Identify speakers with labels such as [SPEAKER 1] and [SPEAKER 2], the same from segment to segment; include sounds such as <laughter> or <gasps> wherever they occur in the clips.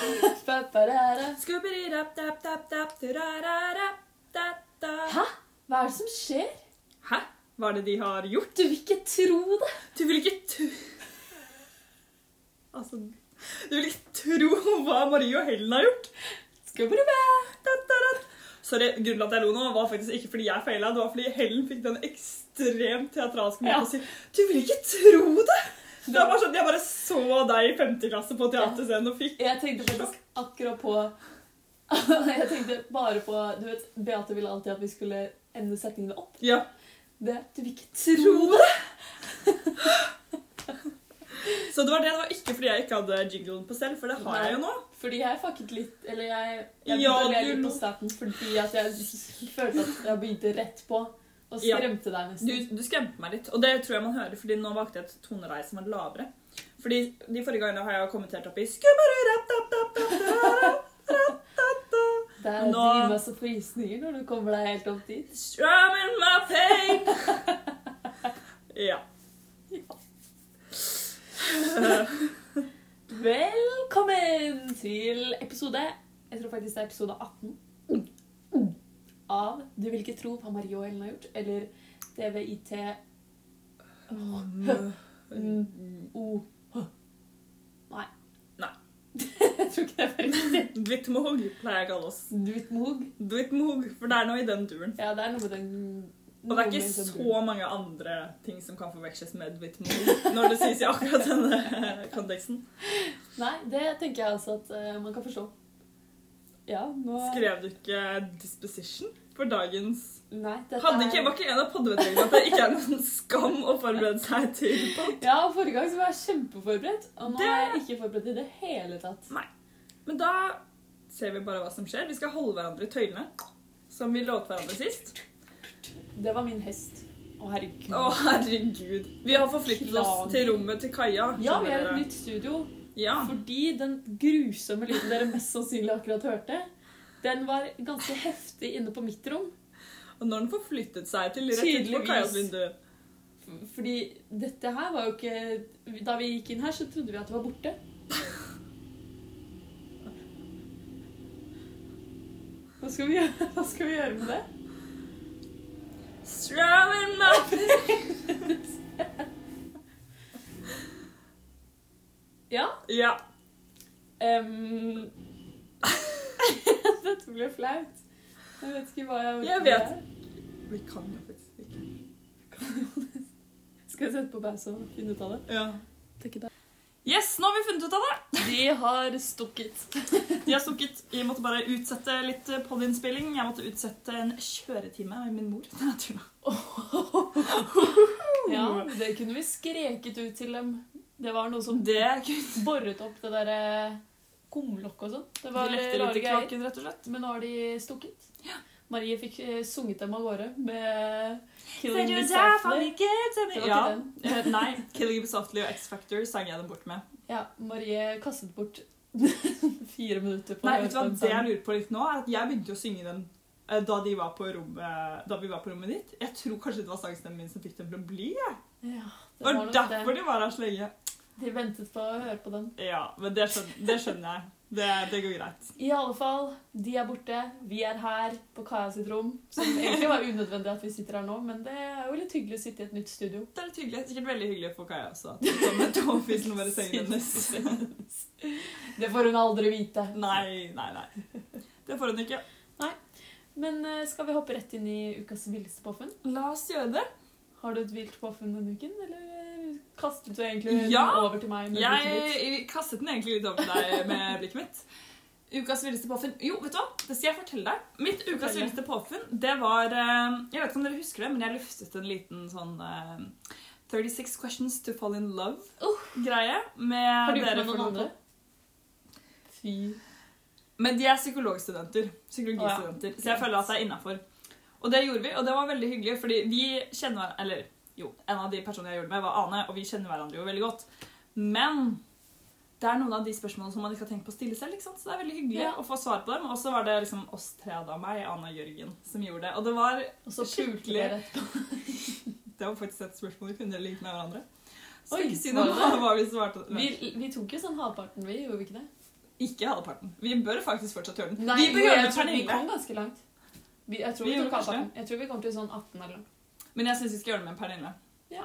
[SPEAKER 1] Skubberubapapapapapara.
[SPEAKER 2] Hæ?
[SPEAKER 1] Hæ? Hva er det som skjer?
[SPEAKER 2] Hæ? Hva er det de har gjort?
[SPEAKER 1] Du vil ikke tro det!
[SPEAKER 2] Du vil ikke tro Altså Du vil ikke tro hva Marie og Helen har gjort!
[SPEAKER 1] Skubberuba!
[SPEAKER 2] Sorry, grunnen til at jeg lo nå, var faktisk ikke fordi jeg feila. Det var fordi Helen fikk den ekstremt teatralske måten
[SPEAKER 1] Ja.
[SPEAKER 2] å si 'Du vil ikke tro det!' Det var bare sånn, Jeg bare så deg i 5. klasse på teaterscenen og fikk
[SPEAKER 1] Jeg tenkte faktisk akkurat på Jeg tenkte bare på Du vet, Beate ville alltid at vi skulle ende setningen med opp.
[SPEAKER 2] Ja.
[SPEAKER 1] Det, du vil ikke tro det!
[SPEAKER 2] Så det var det. Det var ikke fordi jeg ikke hadde jinglen på selv, for det har jeg jo nå.
[SPEAKER 1] Fordi jeg fucket litt Eller jeg, jeg
[SPEAKER 2] Ja,
[SPEAKER 1] begynte å le
[SPEAKER 2] du
[SPEAKER 1] litt
[SPEAKER 2] lo.
[SPEAKER 1] på starten fordi at jeg følte at jeg begynte rett på. Og
[SPEAKER 2] Ja.
[SPEAKER 1] skremte deg
[SPEAKER 2] Du,
[SPEAKER 1] nesten.
[SPEAKER 2] du skremte meg litt, og det tror jeg man hører, fordi nå valgte jeg et toneleie som er lavere. Fordi de forrige gangene har jeg kommentert opp i «Skubberuratatatata, ratatata,
[SPEAKER 1] Det er
[SPEAKER 2] men
[SPEAKER 1] nå...
[SPEAKER 2] nå-
[SPEAKER 1] masse frysninger når du kommer deg helt opp dit.
[SPEAKER 2] strum in my pain. Ja.
[SPEAKER 1] Velkommen til episode Jeg tror faktisk det er episode 18 av Du vil ikke tro hva Marie og Ellen har gjort, eller DVIT
[SPEAKER 2] Mm.
[SPEAKER 1] O Nei.
[SPEAKER 2] Nei.
[SPEAKER 1] jeg tror ikke det var riktig.
[SPEAKER 2] Dwitmog pleier jeg å kalle oss.
[SPEAKER 1] Dutmog.
[SPEAKER 2] Dwitmog, for det er noe i den duren.
[SPEAKER 1] Ja, det er noe med den
[SPEAKER 2] Og det er ikke så mange andre ting som kan forveksles med Dwitmog når det sies i akkurat denne konteksten.
[SPEAKER 1] Nei, det tenker jeg altså at eh, man kan forstå. Ja, nå
[SPEAKER 2] Skrev du ikke disposition for dagens
[SPEAKER 1] Nei, dette
[SPEAKER 2] Hadde
[SPEAKER 1] er-
[SPEAKER 2] ikke, var ikke en av podvedtektene at det ikke er noen skam å forberede seg til pod?
[SPEAKER 1] Ja, og forrige gang så var jeg kjempeforberedt, og nå
[SPEAKER 2] Det-
[SPEAKER 1] er jeg ikke forberedt i det hele tatt.
[SPEAKER 2] Men da ser vi bare hva som skjer. Vi skal holde hverandre i tøylene, som vi lovte hverandre sist.
[SPEAKER 1] Det var min hest. Å, herregud.
[SPEAKER 2] Å, herregud. Vi har forflyttet oss til rommet til Kaja.
[SPEAKER 1] Ja, vi er i
[SPEAKER 2] skjønner
[SPEAKER 1] et
[SPEAKER 2] dere. Ah.
[SPEAKER 1] nytt studio
[SPEAKER 2] Ja.
[SPEAKER 1] fordi den grusomme lyden dere mest sannsynlig akkurat hørte, den var ganske heftig inne på mitt rom.
[SPEAKER 2] Og når den forflyttet seg til rett utenfor
[SPEAKER 1] Tydeligvis.
[SPEAKER 2] Kajas vindu
[SPEAKER 1] F- Fordi dette her var jo ikke Da vi gikk inn her, så trodde vi at det var borte.
[SPEAKER 2] <laughs>
[SPEAKER 1] Hva skal vi gjøre, Hva skal vi gjøre med det?
[SPEAKER 2] Strum in my
[SPEAKER 1] Ja.
[SPEAKER 2] Ja.
[SPEAKER 1] ehm, <laughs> dette ble flaut. Jeg vet ikke hva jeg
[SPEAKER 2] Jeg vet. Vi kan jo faktisk ikke.
[SPEAKER 1] Skal jeg sette på pause og finne ut av det?
[SPEAKER 2] Ja.
[SPEAKER 1] Det er ikke det.
[SPEAKER 2] Yes, nå har vi funnet ut av det.
[SPEAKER 1] De har stukket.
[SPEAKER 2] De har stukket. Jeg måtte bare utsette litt podinnspilling. Jeg måtte utsette en kjøretime med min mor. Nei, jeg tuller.
[SPEAKER 1] Ja, det kunne vi skreket ut til dem. Det var noe som
[SPEAKER 2] Det kunne
[SPEAKER 1] borret opp det derre kumlokket og sånn. Det var
[SPEAKER 2] lekte litt
[SPEAKER 1] rare
[SPEAKER 2] i
[SPEAKER 1] greier.
[SPEAKER 2] kloakken, rett og slett.
[SPEAKER 1] Men nå har de stukket. Marie fikk eh, sunget dem av gårde med
[SPEAKER 2] Said
[SPEAKER 1] 'Killing Me
[SPEAKER 2] you're
[SPEAKER 1] Softly'.
[SPEAKER 2] definitely good to me.
[SPEAKER 1] Det var
[SPEAKER 2] Ja.
[SPEAKER 1] ikke den.
[SPEAKER 2] Eh, Nei. 'Killing Me Softly' og 'X Factor' sang jeg den bort med.
[SPEAKER 1] Ja, Marie kastet bort <laughs> fire minutter på å
[SPEAKER 2] Nei,
[SPEAKER 1] høre
[SPEAKER 2] vet du hva,
[SPEAKER 1] den
[SPEAKER 2] Det jeg
[SPEAKER 1] sangen.
[SPEAKER 2] lurer på litt nå, er at jeg begynte å synge den eh, da, de var på rommet, da vi var på rommet ditt. Jeg tror kanskje det var sangstemmen min som fikk dem til å bli. jeg.
[SPEAKER 1] Ja, det
[SPEAKER 2] Det var
[SPEAKER 1] nok
[SPEAKER 2] derfor
[SPEAKER 1] det.
[SPEAKER 2] de var her så lenge.
[SPEAKER 1] De ventet på å høre på den.
[SPEAKER 2] Ja, men det skjønner, det skjønner jeg. Det, det går greit.
[SPEAKER 1] I alle fall, de er borte. Vi er her på Kaja sitt rom. Som egentlig var unødvendig at vi sitter her nå, men det er jo litt hyggelig å sitte i et nytt studio.
[SPEAKER 2] Det er litt hyggelig. Sikkert veldig hyggelig for Kaja også. at hun Som et tåfis når <laughs> bare sengen hennes.
[SPEAKER 1] Det får hun aldri vite.
[SPEAKER 2] Nei, nei, nei. Det får hun ikke.
[SPEAKER 1] Men eh, skal vi hoppe rett inn i ukas villeste påfunn?
[SPEAKER 2] La oss gjøre det.
[SPEAKER 1] Har du et vilt påfunn denne uken, eller eh, kastet du egentlig
[SPEAKER 2] Ja,
[SPEAKER 1] den over til meg? med blikket ditt?
[SPEAKER 2] Jeg kastet den egentlig litt over til deg med
[SPEAKER 1] <laughs>
[SPEAKER 2] blikket mitt. Ukas villeste påfunn Jo, vet du hva? Det skal jeg fortelle deg. Mitt ukas
[SPEAKER 1] Fortell.
[SPEAKER 2] villeste påfunn, det var eh, Jeg vet ikke om dere husker det, men jeg luftet en liten sånn eh, 36 questions to fall in love-greie med
[SPEAKER 1] Har du gjort
[SPEAKER 2] dere
[SPEAKER 1] det med noen
[SPEAKER 2] for
[SPEAKER 1] andre? Fy.
[SPEAKER 2] Men de er psykologstudenter. Psykologistudenter. Så jeg
[SPEAKER 1] Greit.
[SPEAKER 2] føler at det er innafor. Og det gjorde vi, og det var veldig hyggelig, fordi vi kjenner Eller jo, en av de personene jeg gjorde det med, var Ane, og vi kjenner hverandre jo veldig godt. Men det er noen av de spørsmålene som man ikke har tenkt på å stille selv, ikke sant? så det er veldig hyggelig
[SPEAKER 1] Ja.
[SPEAKER 2] å få svar på dem. Og så var det liksom oss tre da, meg, Ane og Jørgen, som gjorde det. Og det var
[SPEAKER 1] Og så pulte
[SPEAKER 2] Skikkelig.
[SPEAKER 1] dere etterpå.
[SPEAKER 2] det var faktisk et spørsmål vi kunne like med hverandre. Skal
[SPEAKER 1] Oi,
[SPEAKER 2] ikke si noe
[SPEAKER 1] var
[SPEAKER 2] om hva vi svarte.
[SPEAKER 1] Vi, vi tok jo sånn halvparten, vi, gjorde vi ikke det?
[SPEAKER 2] Ikke halvparten. Vi bør faktisk fortsatt gjøre den. vi
[SPEAKER 1] jo,
[SPEAKER 2] bør gjøre
[SPEAKER 1] jeg
[SPEAKER 2] det
[SPEAKER 1] tror vi
[SPEAKER 2] Pernille.
[SPEAKER 1] kom ganske langt. Vi, jeg, tror
[SPEAKER 2] Vi
[SPEAKER 1] vi
[SPEAKER 2] gjorde
[SPEAKER 1] tok
[SPEAKER 2] kanskje
[SPEAKER 1] halvparten. jeg tror vi kom til sånn 18 eller noe.
[SPEAKER 2] Men jeg syns vi skal gjøre det med Pernille.
[SPEAKER 1] Ja.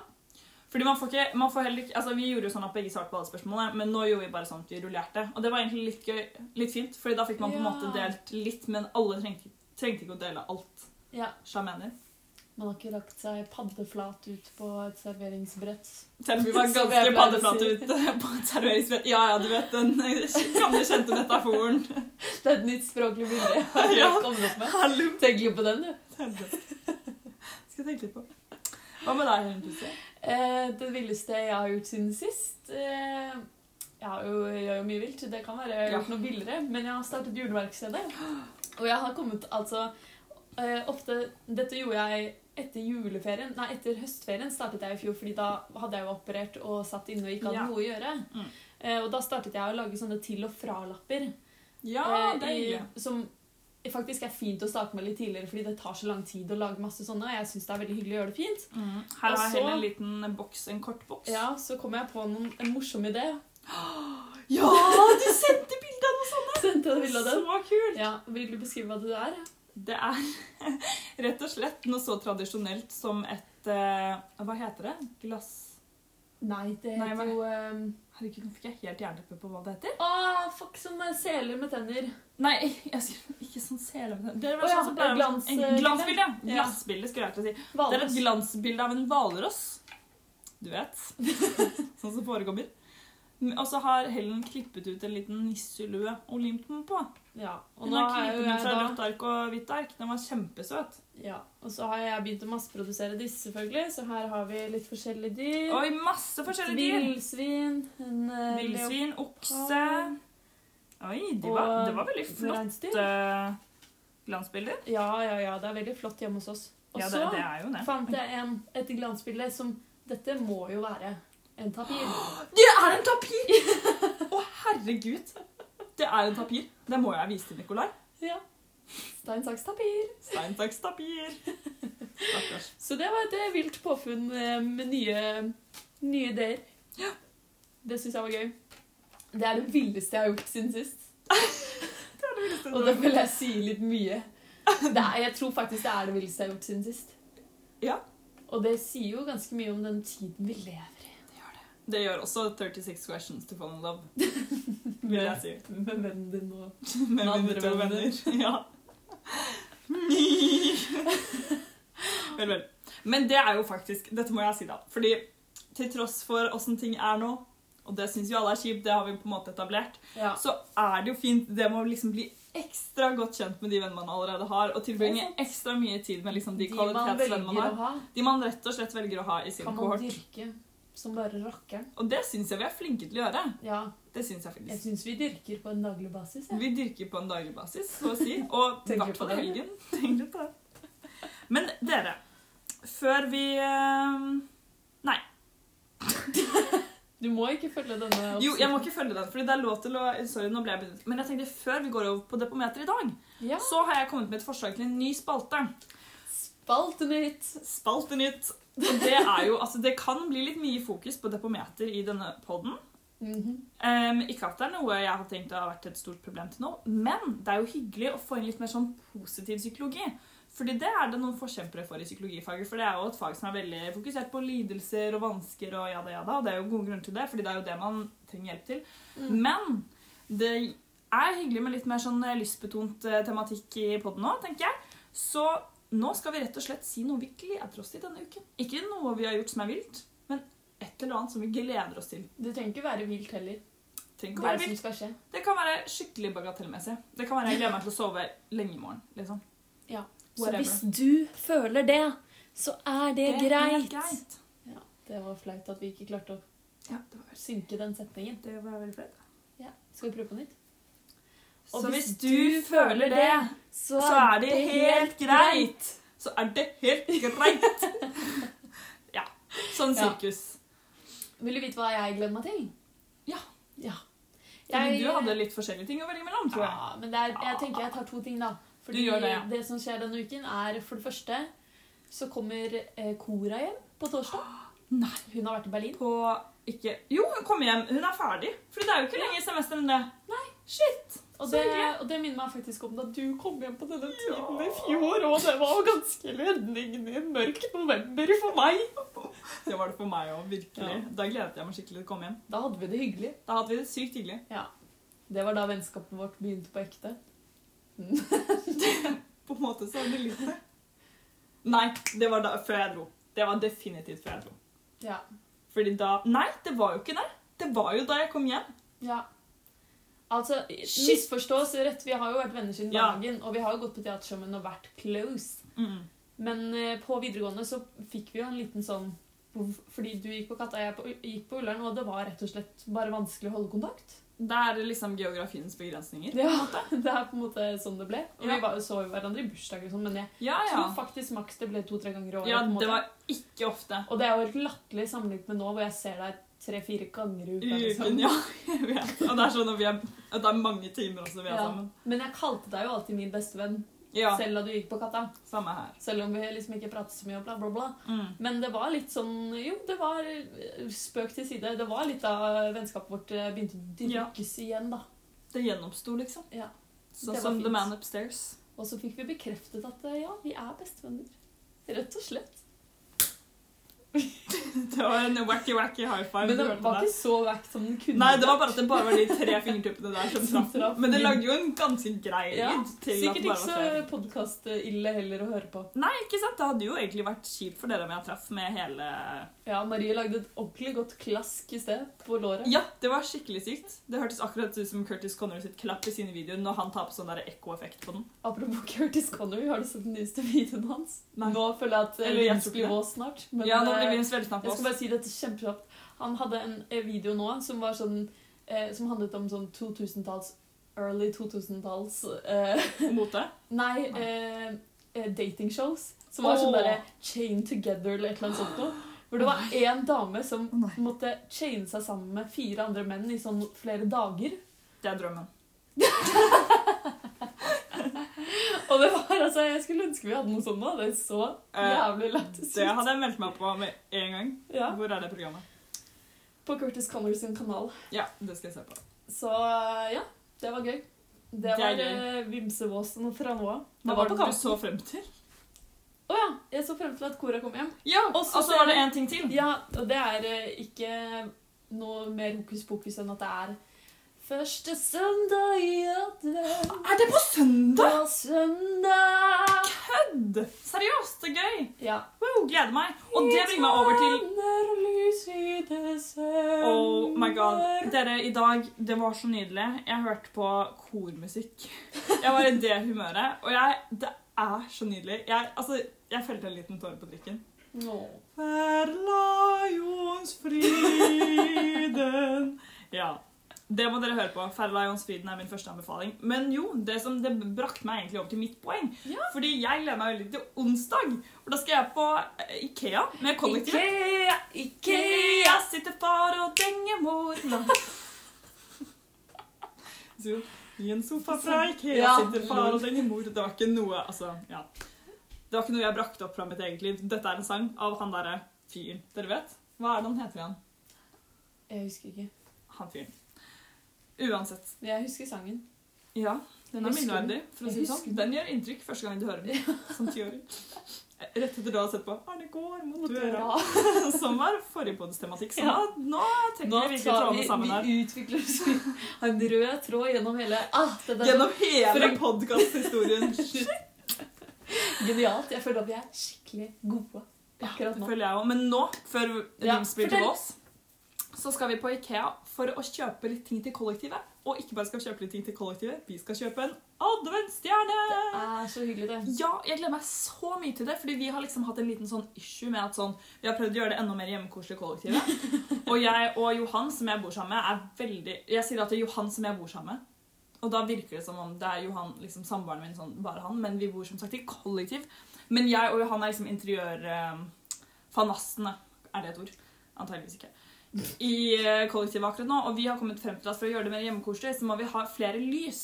[SPEAKER 2] Fordi man får ikke, man får heller ikke, altså Vi gjorde jo sånn at begge svarte på alle spørsmålene, men nå gjorde vi bare sånn at vi rullerte. Og det var egentlig litt gøy, litt fint, Fordi da fikk man på en
[SPEAKER 1] Ja.
[SPEAKER 2] måte delt litt, men alle trengte, trengte ikke å dele alt.
[SPEAKER 1] Ja,
[SPEAKER 2] Sjamener.
[SPEAKER 1] Man har ikke lagt seg paddeflat ut på et serveringsbrett. <laughs>
[SPEAKER 2] Selv om vi var
[SPEAKER 1] Som
[SPEAKER 2] ganske
[SPEAKER 1] jeg pleier å
[SPEAKER 2] paddeflate
[SPEAKER 1] si.
[SPEAKER 2] ute <laughs> på et serveringsbrett. Ja, ja, du vet den <laughs> gamle, kjente metaforen.
[SPEAKER 1] Det er et nytt språklig bilde. jeg
[SPEAKER 2] <laughs> Ja.
[SPEAKER 1] har kommet opp med.
[SPEAKER 2] Hallo.
[SPEAKER 1] Tenker jo på den, du.
[SPEAKER 2] Helvete. Skal jeg tenke litt på. Hva med deg, Helen Tusse?
[SPEAKER 1] Eh, det villeste jeg har gjort siden sist eh, Jeg har jo, jeg gjør jo mye vilt. Det kan være jeg har gjort noe villere. Men jeg har startet juleverkstedet.
[SPEAKER 2] <gasps>
[SPEAKER 1] Og jeg har kommet altså eh, Ofte Dette gjorde jeg etter juleferien. Nei, etter høstferien startet jeg i fjor, fordi da hadde jeg jo operert og satt inne og ikke hadde
[SPEAKER 2] Ja.
[SPEAKER 1] noe å gjøre.
[SPEAKER 2] Mm.
[SPEAKER 1] Eh, og da startet jeg å lage sånne til og fra-lapper.
[SPEAKER 2] Ja,
[SPEAKER 1] eh,
[SPEAKER 2] det er
[SPEAKER 1] i-
[SPEAKER 2] hyggelig.
[SPEAKER 1] Som faktisk er fint å starte med litt tidligere, fordi det tar så lang tid å lage masse sånne. Og jeg syns det er veldig hyggelig å gjøre det fint.
[SPEAKER 2] Mm. Her
[SPEAKER 1] Og
[SPEAKER 2] har
[SPEAKER 1] så-
[SPEAKER 2] Helen en liten boks, en kort boks.
[SPEAKER 1] Ja, så kom jeg på noen, en morsom idé. <laughs>
[SPEAKER 2] Ja, du sendte bilde av noe sånt!
[SPEAKER 1] Sendte jeg bilde av den.
[SPEAKER 2] Så kult!
[SPEAKER 1] Ja, Vil du beskrive hva det er?
[SPEAKER 2] Det er <laughs> rett og slett noe så tradisjonelt som et eh, Hva heter det? Glass...
[SPEAKER 1] Nei, det
[SPEAKER 2] Nei, hva-
[SPEAKER 1] heter jo um...
[SPEAKER 2] ehm, Herregud, nå fikk jeg helt jernteppe på hva det heter.
[SPEAKER 1] Å, fuck, som eh, seler med tenner.
[SPEAKER 2] Nei, jeg skulle <laughs> ikke sånn sele... Det er
[SPEAKER 1] Å
[SPEAKER 2] vel
[SPEAKER 1] ja,
[SPEAKER 2] sånn som pleier å-
[SPEAKER 1] glans- eh,
[SPEAKER 2] en Glansbilde!
[SPEAKER 1] Ja.
[SPEAKER 2] Glassbilde, skulle jeg til å si. Det er
[SPEAKER 1] Valros.
[SPEAKER 2] et glansbilde av en hvalross. Du vet. <laughs> sånn som forekommer. Men- Og så har Helen klippet ut en liten nisselue og limt den på.
[SPEAKER 1] Ja, og
[SPEAKER 2] Hun
[SPEAKER 1] nå
[SPEAKER 2] har
[SPEAKER 1] har
[SPEAKER 2] klippet
[SPEAKER 1] jo
[SPEAKER 2] den ut
[SPEAKER 1] jeg
[SPEAKER 2] fra
[SPEAKER 1] da
[SPEAKER 2] rødt ark og hvitt ark. Den var kjempesøt.
[SPEAKER 1] ja, Og så har jeg begynt å masseprodusere disse, selvfølgelig. Så her har vi litt forskjellige dyr.
[SPEAKER 2] Oi, masse
[SPEAKER 1] Et
[SPEAKER 2] forskjellige dyr.
[SPEAKER 1] Villsvin. En eh,
[SPEAKER 2] Villsvin, okse
[SPEAKER 1] leopard.
[SPEAKER 2] Oi, de var,
[SPEAKER 1] Og
[SPEAKER 2] det var veldig flotte glansbilder.
[SPEAKER 1] Ja, ja, ja. Det er veldig flott hjemme hos oss. Og
[SPEAKER 2] Ja, det,
[SPEAKER 1] så
[SPEAKER 2] det er jo det.
[SPEAKER 1] fant jeg en, et glansbilde som Dette må jo være en tapir.
[SPEAKER 2] <gasps> Det er en
[SPEAKER 1] <laughs>
[SPEAKER 2] tapir! Å, herregud. Det er en tapir. Det må jeg vise til Nikolai.
[SPEAKER 1] Ja. Stein, saks, tapir.
[SPEAKER 2] Stein, saks,
[SPEAKER 1] <laughs>
[SPEAKER 2] tapir. Stakkars.
[SPEAKER 1] Så det var et vilt påfunn eh, med nye, nye ideer. Det syns jeg var gøy. Det er det villeste jeg har gjort siden sist. Og det vil jeg si litt
[SPEAKER 2] <laughs>
[SPEAKER 1] mye. Det er, jeg tror faktisk det er det villeste jeg har gjort siden sist.
[SPEAKER 2] Ja.
[SPEAKER 1] Og det sier jo ganske mye om den tiden vi lever i.
[SPEAKER 2] Det gjør også 36 questions to fall in love, vil jeg si.
[SPEAKER 1] Med vennen din og
[SPEAKER 2] <laughs> Med mine
[SPEAKER 1] andre
[SPEAKER 2] to
[SPEAKER 1] venner.
[SPEAKER 2] venner. <laughs> Ja.
[SPEAKER 1] <laughs>
[SPEAKER 2] Ni. Vel, vel. Men det er jo faktisk Dette må jeg si, da. Fordi til tross for åssen ting er nå, og det syns jo alle er kjipt, det har vi på en måte etablert,
[SPEAKER 1] Ja.
[SPEAKER 2] så er det jo fint det med å liksom bli ekstra godt kjent med de vennene man allerede har, og tilbringe
[SPEAKER 1] Det
[SPEAKER 2] ekstra mye tid med liksom de
[SPEAKER 1] De man velger
[SPEAKER 2] kvalitetsvennene man
[SPEAKER 1] å ha,
[SPEAKER 2] har. De man rett og slett velger å ha i sin
[SPEAKER 1] kan man
[SPEAKER 2] kohort.
[SPEAKER 1] dyrke som bare rakkeren.
[SPEAKER 2] Og det syns jeg vi er flinke til å gjøre.
[SPEAKER 1] Ja,
[SPEAKER 2] Det syns jeg
[SPEAKER 1] jeg
[SPEAKER 2] faktisk.
[SPEAKER 1] syns vi dyrker på en daglig basis. Ja.
[SPEAKER 2] Vi dyrker på en daglig basis, så
[SPEAKER 1] <laughs>
[SPEAKER 2] å si. Og i
[SPEAKER 1] Tenker
[SPEAKER 2] hvert
[SPEAKER 1] på
[SPEAKER 2] fall i
[SPEAKER 1] det. <laughs>
[SPEAKER 2] helgen. Tenk litt på det. Men dere, før vi eh,
[SPEAKER 1] Du må ikke følge denne
[SPEAKER 2] Jo, jeg må ikke følge den, for det er lov til å Sorry, nå ble jeg begynt. Men jeg tenkte før vi går over på Depometer i dag,
[SPEAKER 1] Ja.
[SPEAKER 2] så har jeg kommet med et forslag til en ny spalte.
[SPEAKER 1] Spaltenytt.
[SPEAKER 2] Spaltenytt. Og det er jo Altså, det kan bli litt mye fokus på Depometer i denne poden.
[SPEAKER 1] Mhm.
[SPEAKER 2] Ehm, ikke at det er noe jeg har tenkt har vært et stort problem til nå, men det er jo hyggelig å få inn litt mer sånn positiv psykologi. Fordi det er det noen forkjempere for i psykologifaget. For det er jo et fag som er veldig fokusert på lidelser og vansker og jada jada, og det er jo gode grunner til det, fordi det er jo det man trenger hjelp til.
[SPEAKER 1] Mm.
[SPEAKER 2] Men det er hyggelig med litt mer sånn eh, lystbetont eh, tematikk i podden nå, tenker jeg. Så nå skal vi rett og slett si noe vi gleder oss til denne uken. Ikke noe vi har gjort som er vilt, men et eller annet som vi gleder oss til.
[SPEAKER 1] Det trenger ikke være vilt heller.
[SPEAKER 2] Trenger
[SPEAKER 1] Det
[SPEAKER 2] ikke å være vilt.
[SPEAKER 1] som skal skje.
[SPEAKER 2] Det kan være skikkelig bagatellmessig. Det kan være jeg gleder meg til å sove lenge i morgen. liksom.
[SPEAKER 1] Ja. Så
[SPEAKER 2] Whatever.
[SPEAKER 1] hvis du føler det, så er det, greit.
[SPEAKER 2] greit.
[SPEAKER 1] Det var flaut at vi ikke klarte å
[SPEAKER 2] Ja, det var,
[SPEAKER 1] synke den setningen.
[SPEAKER 2] det var veldig fett.
[SPEAKER 1] Ja. Skal vi prøve på nytt?
[SPEAKER 2] Så hvis du føler det,
[SPEAKER 1] så,
[SPEAKER 2] så er det helt greit. så er det helt <laughs> greit. ja. Sånn
[SPEAKER 1] Ja.
[SPEAKER 2] sirkus.
[SPEAKER 1] Vil du vite hva jeg gleder meg til?
[SPEAKER 2] Ja.
[SPEAKER 1] ja.
[SPEAKER 2] Fordi Du hadde litt forskjellige ting å velge mellom, tror jeg.
[SPEAKER 1] Ja, men det er, jeg tenker jeg tar to ting, da. Fordi
[SPEAKER 2] Du gjør det, ja.
[SPEAKER 1] som skjer denne uken, er for det første så kommer eh, Kora hjem på torsdag. <gasps>
[SPEAKER 2] Nei.
[SPEAKER 1] Hun har vært i Berlin.
[SPEAKER 2] På ikke Jo, hun kommer hjem. Hun er ferdig. Fordi det er jo ikke
[SPEAKER 1] Ja.
[SPEAKER 2] lenger semester enn det.
[SPEAKER 1] Nei.
[SPEAKER 2] Shit!
[SPEAKER 1] Og
[SPEAKER 2] Så
[SPEAKER 1] det,
[SPEAKER 2] hyggelig.
[SPEAKER 1] og det minner meg faktisk om da du kom hjem på denne tiden
[SPEAKER 2] Ja.
[SPEAKER 1] i fjor, og det var ganske redningen i en mørk november for meg.
[SPEAKER 2] Det var det for meg òg, virkelig.
[SPEAKER 1] Ja.
[SPEAKER 2] Da gledet jeg meg skikkelig til å komme hjem.
[SPEAKER 1] Da hadde vi det hyggelig.
[SPEAKER 2] Da hadde vi det sykt hyggelig.
[SPEAKER 1] Det var da vennskapet vårt begynte på ekte.
[SPEAKER 2] På en måte så var det litt det. Nei, det var da, før jeg dro. Det var definitivt før jeg dro.
[SPEAKER 1] <laughs> Ja.
[SPEAKER 2] Fordi da Nei, det var jo ikke der. Det var jo da jeg kom hjem.
[SPEAKER 1] ja. Altså,
[SPEAKER 2] Shit.
[SPEAKER 1] misforstås rett, vi har jo vært venner siden
[SPEAKER 2] Ja.
[SPEAKER 1] dagen, og vi har jo gått på teater sammen og vært close.
[SPEAKER 2] Mm.
[SPEAKER 1] Men eh, på videregående så fikk vi jo en liten sånn Fordi du gikk på Katta, jeg på, gikk på Ullern, og det var rett og slett bare vanskelig å holde kontakt.
[SPEAKER 2] Det er liksom geografiens begrensninger.
[SPEAKER 1] Ja, det er på en måte sånn det ble. Og
[SPEAKER 2] Ja.
[SPEAKER 1] vi var, så jo hverandre i bursdager og sånn, men jeg
[SPEAKER 2] Ja, ja.
[SPEAKER 1] tror faktisk maks det ble to-tre ganger i året.
[SPEAKER 2] Ja,
[SPEAKER 1] på en måte.
[SPEAKER 2] det var ikke ofte.
[SPEAKER 1] Og det er jo helt latterlig sammenlignet med nå, hvor jeg ser deg tre-fire ganger i uka.
[SPEAKER 2] I
[SPEAKER 1] liksom.
[SPEAKER 2] uken, ja. Jeg vet. Og det er sånn at, vi er, at det er mange timer også vi er
[SPEAKER 1] Ja.
[SPEAKER 2] sammen.
[SPEAKER 1] Men jeg kalte deg jo alltid min bestevenn,
[SPEAKER 2] Ja,
[SPEAKER 1] selv da du gikk på Katta.
[SPEAKER 2] samme her.
[SPEAKER 1] Selv om vi liksom ikke pratet så mye og bla, bla, bla.
[SPEAKER 2] Mm.
[SPEAKER 1] Men det var litt sånn Jo, det var eh, spøk til side. Det var litt da vennskapet vårt eh, begynte å
[SPEAKER 2] Ja.
[SPEAKER 1] dyrkes igjen, da.
[SPEAKER 2] Det gjenoppsto, liksom.
[SPEAKER 1] Ja.
[SPEAKER 2] Sånn
[SPEAKER 1] Det var
[SPEAKER 2] som The
[SPEAKER 1] fint.
[SPEAKER 2] Man Upstairs. <laughs>
[SPEAKER 1] Og så fikk vi bekreftet at eh, ja, vi er bestevenner. Rett og slett.
[SPEAKER 2] Det var en wacky-wacky high five.
[SPEAKER 1] Men
[SPEAKER 2] du
[SPEAKER 1] det
[SPEAKER 2] hørte
[SPEAKER 1] var
[SPEAKER 2] der.
[SPEAKER 1] ikke så vekt som den kunne
[SPEAKER 2] Nei, det var bare at det bare var de tre fingertuppene der som
[SPEAKER 1] Som
[SPEAKER 2] traff.
[SPEAKER 1] traff.
[SPEAKER 2] Men det lagde jo en ganske grei lyd.
[SPEAKER 1] Ja, <laughs>
[SPEAKER 2] til at
[SPEAKER 1] Sikkert
[SPEAKER 2] det
[SPEAKER 1] ikke
[SPEAKER 2] bare
[SPEAKER 1] så
[SPEAKER 2] var tre.
[SPEAKER 1] podkast-ille heller å høre på.
[SPEAKER 2] Nei, ikke sant? Det hadde jo egentlig vært kjipt for dere om jeg traff med hele
[SPEAKER 1] Ja, Marie lagde et ordentlig godt klask i sted på låret.
[SPEAKER 2] Ja, det var skikkelig sykt. Det hørtes akkurat ut som Curtis Connery sitt klapp i sine videoer når han tar på sånn der ekkoeffekt på den.
[SPEAKER 1] Apropos Curtis Connery, har du sett den nyeste videoen hans?
[SPEAKER 2] Nei.
[SPEAKER 1] Nå føler jeg at eh,
[SPEAKER 2] Eller jeg
[SPEAKER 1] Vince
[SPEAKER 2] tror ikke
[SPEAKER 1] blir våt snart. Men
[SPEAKER 2] ja, nå
[SPEAKER 1] eh,
[SPEAKER 2] blir vi en svelsnapp
[SPEAKER 1] jeg
[SPEAKER 2] på
[SPEAKER 1] skal
[SPEAKER 2] oss.
[SPEAKER 1] bare si dette kjempekjapt. Han hadde en eh, video nå som var sånn eh, Som handlet om sånn 2000-talls Early 2000-talls eh, <laughs>
[SPEAKER 2] Mote.
[SPEAKER 1] Nei, eh, eh, datingshows. Som var sånn
[SPEAKER 2] Åh.
[SPEAKER 1] derre Chain Together eller et eller annet sånt noe. Hvor det var én dame som
[SPEAKER 2] Å, nei.
[SPEAKER 1] måtte chaine seg sammen med fire andre menn i sånn flere
[SPEAKER 2] <laughs>
[SPEAKER 1] dager.
[SPEAKER 2] Det er drømmen.
[SPEAKER 1] Og det var altså, Jeg skulle ønske vi hadde noe sånt nå. Det er så jævlig lættis
[SPEAKER 2] Eh, Det hadde jeg meldt meg på med en gang.
[SPEAKER 1] Ja,
[SPEAKER 2] Hvor er det programmet?
[SPEAKER 1] på Curtis Connors sin kanal.
[SPEAKER 2] Ja, det skal jeg se på.
[SPEAKER 1] Så ja, det var gøy. Det
[SPEAKER 2] er
[SPEAKER 1] var
[SPEAKER 2] gøy.
[SPEAKER 1] eh, vimsevåsen fra nå av.
[SPEAKER 2] Hva
[SPEAKER 1] Det
[SPEAKER 2] var
[SPEAKER 1] var
[SPEAKER 2] det
[SPEAKER 1] på
[SPEAKER 2] du
[SPEAKER 1] kamp.
[SPEAKER 2] så frem til?
[SPEAKER 1] Å ja, jeg så frem til at Cora kom hjem.
[SPEAKER 2] Ja,
[SPEAKER 1] Og
[SPEAKER 2] og
[SPEAKER 1] så
[SPEAKER 2] så
[SPEAKER 1] ser
[SPEAKER 2] var det
[SPEAKER 1] jeg-
[SPEAKER 2] en ting til.
[SPEAKER 1] altså- Ja, og det er eh, ikke noe mer hokus pokus enn at det er Første søndag i advent
[SPEAKER 2] Er det på søndag?
[SPEAKER 1] var søndag
[SPEAKER 2] Seriøst, så gøy!
[SPEAKER 1] Ja.
[SPEAKER 2] Wow, gleder meg. Og det bringer meg over til
[SPEAKER 1] Tenner lys i desember.
[SPEAKER 2] Oh my god. Dere, i dag, det var så nydelig. Jeg hørte på kormusikk. Jeg var i det humøret. Og jeg Det er så nydelig. Jeg, altså, jeg felte en liten tåre på drikken.
[SPEAKER 1] Nå.
[SPEAKER 2] For lionsfriden <laughs> Ja. Det må dere høre på. Fair Lions-friden er min første anbefaling. Men jo, det som det brakte meg egentlig over til mitt poeng.
[SPEAKER 1] Ja.
[SPEAKER 2] Fordi jeg gleder meg veldig til onsdag. For da skal jeg på eh, Ikea med kollektivet.
[SPEAKER 1] Ikea,
[SPEAKER 2] Ikea sitter far og denger mor Så, I en sofa fra Ikea
[SPEAKER 1] Ja.
[SPEAKER 2] sitter far og denger mor. Det var ikke noe altså, ja. Det var ikke noe jeg brakte opp fra mitt eget liv. Dette er en sang av han derre fyren. Dere vet? Hva er det han heter igjen?
[SPEAKER 1] Jeg husker ikke.
[SPEAKER 2] Han fyren. Uansett.
[SPEAKER 1] Men jeg husker sangen.
[SPEAKER 2] Ja, den er
[SPEAKER 1] Husker du?
[SPEAKER 2] minneverdig. for å
[SPEAKER 1] Jeg
[SPEAKER 2] si det
[SPEAKER 1] husker
[SPEAKER 2] sånn. Den gjør inntrykk første gang du hører den. Som tiåring. Rett etter da å ha sett på 'Arne går mot døra', <laughs> som var forrige podestematikk. Så
[SPEAKER 1] Ja.
[SPEAKER 2] nå
[SPEAKER 1] Nå
[SPEAKER 2] tenker vi virkelig
[SPEAKER 1] tar vi,
[SPEAKER 2] trådene sammen her.
[SPEAKER 1] vi utvikler oss vi har en rød tråd gjennom hele ah, det der er
[SPEAKER 2] Gjennom hele
[SPEAKER 1] For-
[SPEAKER 2] podkasthistorien. <laughs>
[SPEAKER 1] Genialt. Jeg føler at vi er skikkelig gode akkurat nå.
[SPEAKER 2] Føler jeg også. Men nå, før
[SPEAKER 1] Ja,
[SPEAKER 2] Rims blir til
[SPEAKER 1] fortell.
[SPEAKER 2] oss, så skal vi på Ikea for å kjøpe litt ting til kollektivet. Og ikke bare skal vi kjøpe litt ting til kollektivet, vi skal kjøpe en adventsstjerne!
[SPEAKER 1] Det er så hyggelig, det.
[SPEAKER 2] Ja, jeg gleder meg så mye til det, fordi vi har liksom hatt en liten sånn issue med at sånn, vi har prøvd å gjøre det enda mer hjemmekoselig i kollektivet. Og jeg og Johan, som jeg bor sammen med, er veldig Jeg sier at det er Johan som jeg bor sammen med. Og da virker det som om det er Johan, liksom samboeren min, sånn, bare han, men vi bor som sagt i kollektiv. Men jeg og Johan er liksom interiørfanastene. Er det et ord? Antageligvis ikke. I eh, kollektivet akkurat nå. Og vi har kommet frem til at for å gjøre det mer hjemmekoselig, så må vi ha flere lys.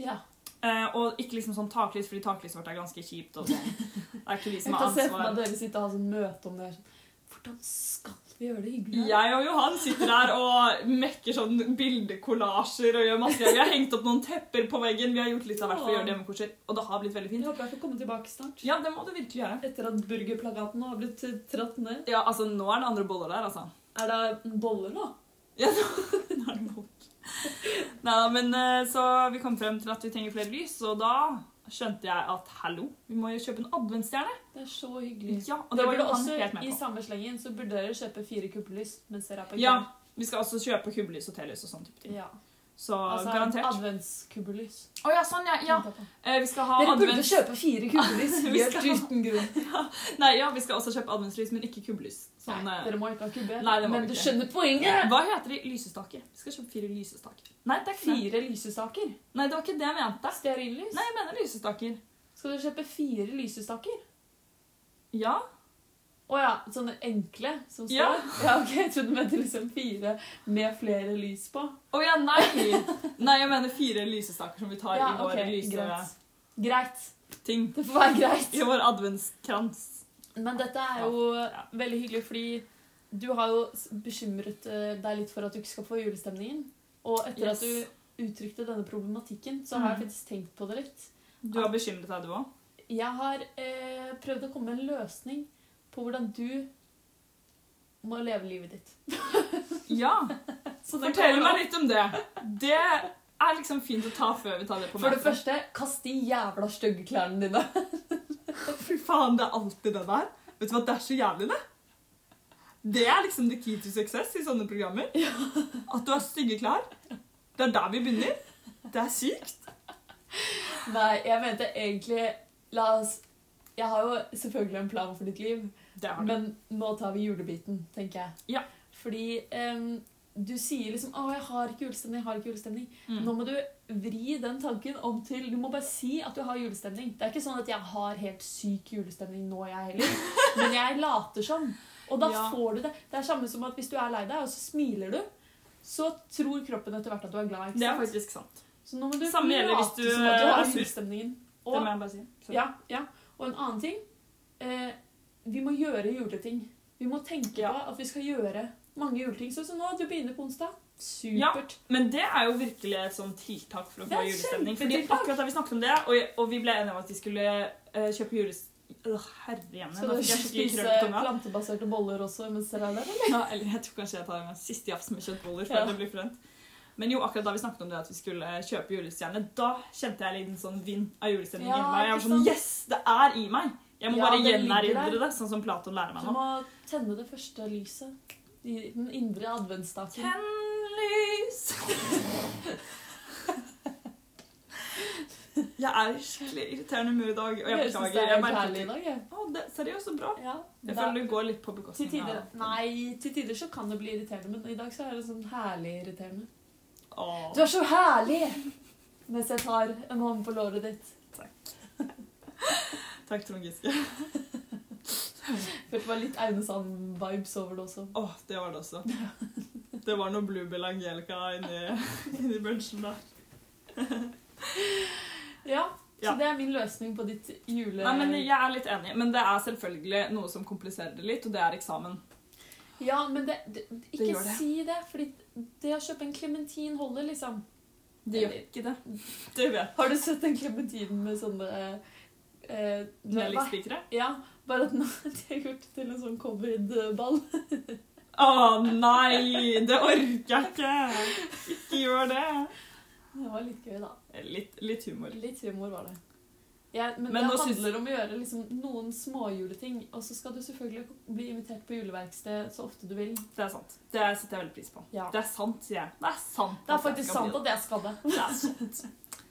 [SPEAKER 1] Ja.
[SPEAKER 2] Eh, og ikke liksom sånn taklys, fordi taklyset vårt er ganske
[SPEAKER 1] <laughs>
[SPEAKER 2] kjipt. og sånn. Det er ikke vi
[SPEAKER 1] Jeg
[SPEAKER 2] som har
[SPEAKER 1] kan se for meg
[SPEAKER 2] ansvar.
[SPEAKER 1] dere sitte og ha sånn møte om det. her, sånn, Hvordan skal Vi gjør det hyggelig.
[SPEAKER 2] Jeg og Johan sitter her og mekker sånn bildekollasjer og gjør masse. Vi har hengt opp noen tepper på veggen, vi har gjort litt av hvert for å gjøre det hjemmekurser. Og det har blitt veldig
[SPEAKER 1] Jeg
[SPEAKER 2] fint.
[SPEAKER 1] håper jeg får komme tilbake snart.
[SPEAKER 2] Ja, det må du virkelig gjøre.
[SPEAKER 1] Etter at burgerplagaten har blitt eh, tratt ned.
[SPEAKER 2] Ja, altså, nå er det andre boller der, altså. <laughs>
[SPEAKER 1] Er det boller nå?
[SPEAKER 2] Ja, nå, nå er det boller. Neida, men eh, så vi kom frem til at vi trenger flere lys, og da skjønte jeg at, hallo, vi må jo kjøpe en adventsstjerne.
[SPEAKER 1] Det er så hyggelig.
[SPEAKER 2] Ja, og
[SPEAKER 1] Og det
[SPEAKER 2] det var
[SPEAKER 1] burde
[SPEAKER 2] jo han helt
[SPEAKER 1] også,
[SPEAKER 2] med
[SPEAKER 1] I
[SPEAKER 2] på.
[SPEAKER 1] samme slengen så burde dere kjøpe fire kuppellys mens dere er på
[SPEAKER 2] Ja, vi skal også kjøpe kubbelys og telys og sånn type
[SPEAKER 1] kvelden.
[SPEAKER 2] ting.
[SPEAKER 1] ja.
[SPEAKER 2] Så
[SPEAKER 1] Altså
[SPEAKER 2] garantert.
[SPEAKER 1] adventskubbellys.
[SPEAKER 2] Å ja, sånn, ja. ja. Eh, Vi skal ha
[SPEAKER 1] Dere burde
[SPEAKER 2] advents-
[SPEAKER 1] kjøpe fire kubbelys
[SPEAKER 2] <laughs> Vi
[SPEAKER 1] helt
[SPEAKER 2] skal-
[SPEAKER 1] uten grunn.
[SPEAKER 2] Nei, ja, vi skal også kjøpe adventslys, men ikke kubbelys. Sånn,
[SPEAKER 1] Nei,
[SPEAKER 2] eh,
[SPEAKER 1] dere må ikke ha kubbe,
[SPEAKER 2] Nei, det må
[SPEAKER 1] men
[SPEAKER 2] vi
[SPEAKER 1] du
[SPEAKER 2] ikke.
[SPEAKER 1] skjønner poenget!
[SPEAKER 2] Hva heter de? Lysestaker. Vi skal kjøpe fire lysestaker. Nei, det er ikke det.
[SPEAKER 1] Fire lysestaker.
[SPEAKER 2] Nei, det var ikke det jeg mente.
[SPEAKER 1] Stearinlys.
[SPEAKER 2] Nei, jeg mener lysestaker.
[SPEAKER 1] Skal dere kjøpe fire lysestaker?
[SPEAKER 2] Ja.
[SPEAKER 1] Å ja, sånne enkle som står? <laughs> Ja.
[SPEAKER 2] Ja.
[SPEAKER 1] ok, Jeg trodde du mente liksom fire med flere lys på.
[SPEAKER 2] Å ja,
[SPEAKER 1] <laughs>
[SPEAKER 2] nei! Nei, jeg mener fire lysestaker som vi tar
[SPEAKER 1] Ja,
[SPEAKER 2] i vår
[SPEAKER 1] ok, greit.
[SPEAKER 2] lyseting.
[SPEAKER 1] Greit. Det får være greit.
[SPEAKER 2] I vår adventskrans.
[SPEAKER 1] Men dette er jo veldig hyggelig, fordi du har jo s- bekymret eh, deg litt for at du ikke skal få julestemningen. Og etter
[SPEAKER 2] Yes.
[SPEAKER 1] at du uttrykte denne problematikken, så har jeg faktisk tenkt på det litt.
[SPEAKER 2] Du har bekymret deg, du òg?
[SPEAKER 1] Jeg har eh, prøvd å komme med en løsning på hvordan du må leve livet ditt.
[SPEAKER 2] Ja.
[SPEAKER 1] Så den
[SPEAKER 2] Fortell
[SPEAKER 1] kommer
[SPEAKER 2] meg litt om det. Det er liksom fint å ta før vi tar det
[SPEAKER 1] nå.
[SPEAKER 2] på
[SPEAKER 1] For det
[SPEAKER 2] møtet.
[SPEAKER 1] første, kast de jævla stygge klærne dine.
[SPEAKER 2] <laughs> Fy faen, det er alltid det der. Vet du hva, det er så jævlig, det. Det er liksom the key to success i sånne programmer. At du har stygge klær. Det er der vi begynner. Det er sykt.
[SPEAKER 1] Nei, jeg mente egentlig La oss Jeg har jo selvfølgelig en plan for ditt liv,
[SPEAKER 2] Det er det.
[SPEAKER 1] men nå tar vi julebiten, tenker jeg.
[SPEAKER 2] Ja.
[SPEAKER 1] Fordi em, du sier liksom 'Å, jeg har ikke julestemning', jeg har ikke julestemning.
[SPEAKER 2] Mm.
[SPEAKER 1] Nå må du vri den tanken om til Du må bare si at du har julestemning. Det er ikke sånn at jeg har helt syk julestemning nå, jeg heller.
[SPEAKER 2] <laughs>
[SPEAKER 1] Men jeg later som. Og da
[SPEAKER 2] Ja.
[SPEAKER 1] får du det. Det er samme som at hvis du er lei deg, og så smiler du, så tror kroppen etter hvert at du er glad.
[SPEAKER 2] Mm. Det
[SPEAKER 1] ikke
[SPEAKER 2] er
[SPEAKER 1] sant?
[SPEAKER 2] faktisk sant.
[SPEAKER 1] Så nå må du
[SPEAKER 2] Samme gjelder
[SPEAKER 1] late
[SPEAKER 2] hvis du
[SPEAKER 1] som at du
[SPEAKER 2] er
[SPEAKER 1] har
[SPEAKER 2] sur.
[SPEAKER 1] julestemningen.
[SPEAKER 2] Det
[SPEAKER 1] Og,
[SPEAKER 2] må jeg bare si. Sorry.
[SPEAKER 1] ja, ja. og en annen ting eh, Vi må gjøre juleting. Vi må tenke
[SPEAKER 2] Ja.
[SPEAKER 1] på at vi skal gjøre mange juleting. Sånn som nå, du begynner på onsdag.
[SPEAKER 2] Ja.
[SPEAKER 1] Supert.
[SPEAKER 2] Men det er jo virkelig et sånn tiltak for å
[SPEAKER 1] Det
[SPEAKER 2] få
[SPEAKER 1] er
[SPEAKER 2] julestemning. Fordi
[SPEAKER 1] kjempetiltak.
[SPEAKER 2] akkurat da vi snakket om det, og, og vi ble enige om at vi skulle eh, kjøpe jules... Øh, herre hjemme,
[SPEAKER 1] Skal
[SPEAKER 2] nå
[SPEAKER 1] du
[SPEAKER 2] fikk jeg skikkelig
[SPEAKER 1] spise
[SPEAKER 2] krøll på tunga.
[SPEAKER 1] plantebaserte boller også mens dere er der? eller?
[SPEAKER 2] Ja, eller jeg tror kanskje jeg tar en siste jafs med kjøttboller før
[SPEAKER 1] Ja.
[SPEAKER 2] det blir frønt. Men jo, akkurat da vi snakket om det at vi skulle kjøpe julestjerne, da kjente jeg en liten sånn vind av julestemning
[SPEAKER 1] Ja,
[SPEAKER 2] inni meg. Jeg var
[SPEAKER 1] ikke
[SPEAKER 2] sånn
[SPEAKER 1] sant?
[SPEAKER 2] Yes! Det er i meg! Jeg må
[SPEAKER 1] Ja,
[SPEAKER 2] bare
[SPEAKER 1] det ligger
[SPEAKER 2] gjenerindre
[SPEAKER 1] der.
[SPEAKER 2] det, sånn som Platon lærer meg
[SPEAKER 1] Du
[SPEAKER 2] nå.
[SPEAKER 1] må tenne det første lyset. I den indre adventsstaken.
[SPEAKER 2] Tenn lys! <laughs> Jeg er i skikkelig irriterende humør i dag, og jeg
[SPEAKER 1] Jeg synes det
[SPEAKER 2] beklager.
[SPEAKER 1] er helt
[SPEAKER 2] Jeg merker
[SPEAKER 1] herlig i
[SPEAKER 2] ikke.
[SPEAKER 1] dag. jeg.
[SPEAKER 2] Å, det, seriøst, så bra.
[SPEAKER 1] Ja,
[SPEAKER 2] Jeg
[SPEAKER 1] da-
[SPEAKER 2] føler det går litt på
[SPEAKER 1] til
[SPEAKER 2] bekostning
[SPEAKER 1] tider,
[SPEAKER 2] av
[SPEAKER 1] nei, til tider så kan det bli irriterende, men i dag så er det sånn herlig irriterende.
[SPEAKER 2] Åh.
[SPEAKER 1] Du er så herlig! Mens jeg tar en hånd på låret ditt.
[SPEAKER 2] Takk, Trond Giske.
[SPEAKER 1] Følte det var litt Aune Sand-vibes over det også.
[SPEAKER 2] Åh, det var det også. Det var noe Bluebell Angelica inni, inni bunchen der.
[SPEAKER 1] Ja, så
[SPEAKER 2] Ja.
[SPEAKER 1] det er min løsning på ditt jule...
[SPEAKER 2] Nei, men Jeg er litt enig, men det er selvfølgelig noe som kompliserer det litt, og det er eksamen.
[SPEAKER 1] Ja, men det, det, ikke
[SPEAKER 2] gjør det.
[SPEAKER 1] si det, fordi det å kjøpe en klementin holder, liksom.
[SPEAKER 2] Det gjør ikke det. Det vet
[SPEAKER 1] Har du sett den klementinen med sånne eh, eh, du vet hva?
[SPEAKER 2] Nellik-spikere.
[SPEAKER 1] Ja, bare at nå <laughs> har de gjort det til en sånn covid-ball.
[SPEAKER 2] Å nei, det <laughs> orker jeg ikke! Ikke gjør det!
[SPEAKER 1] Det var litt gøy, da.
[SPEAKER 2] Litt, litt humor.
[SPEAKER 1] Litt humor var det. Ja, men,
[SPEAKER 2] Men
[SPEAKER 1] det
[SPEAKER 2] nå syns-
[SPEAKER 1] handler om å gjøre liksom, noen småjuleting. Og så skal du selvfølgelig bli invitert på juleverksted så ofte du vil.
[SPEAKER 2] Det er sant. Det setter jeg veldig pris på.
[SPEAKER 1] Ja.
[SPEAKER 2] Det er sant, sier jeg. Det er sant.
[SPEAKER 1] Det er
[SPEAKER 2] at jeg
[SPEAKER 1] faktisk
[SPEAKER 2] skal bli
[SPEAKER 1] sant at jeg skal det.
[SPEAKER 2] Det er sant.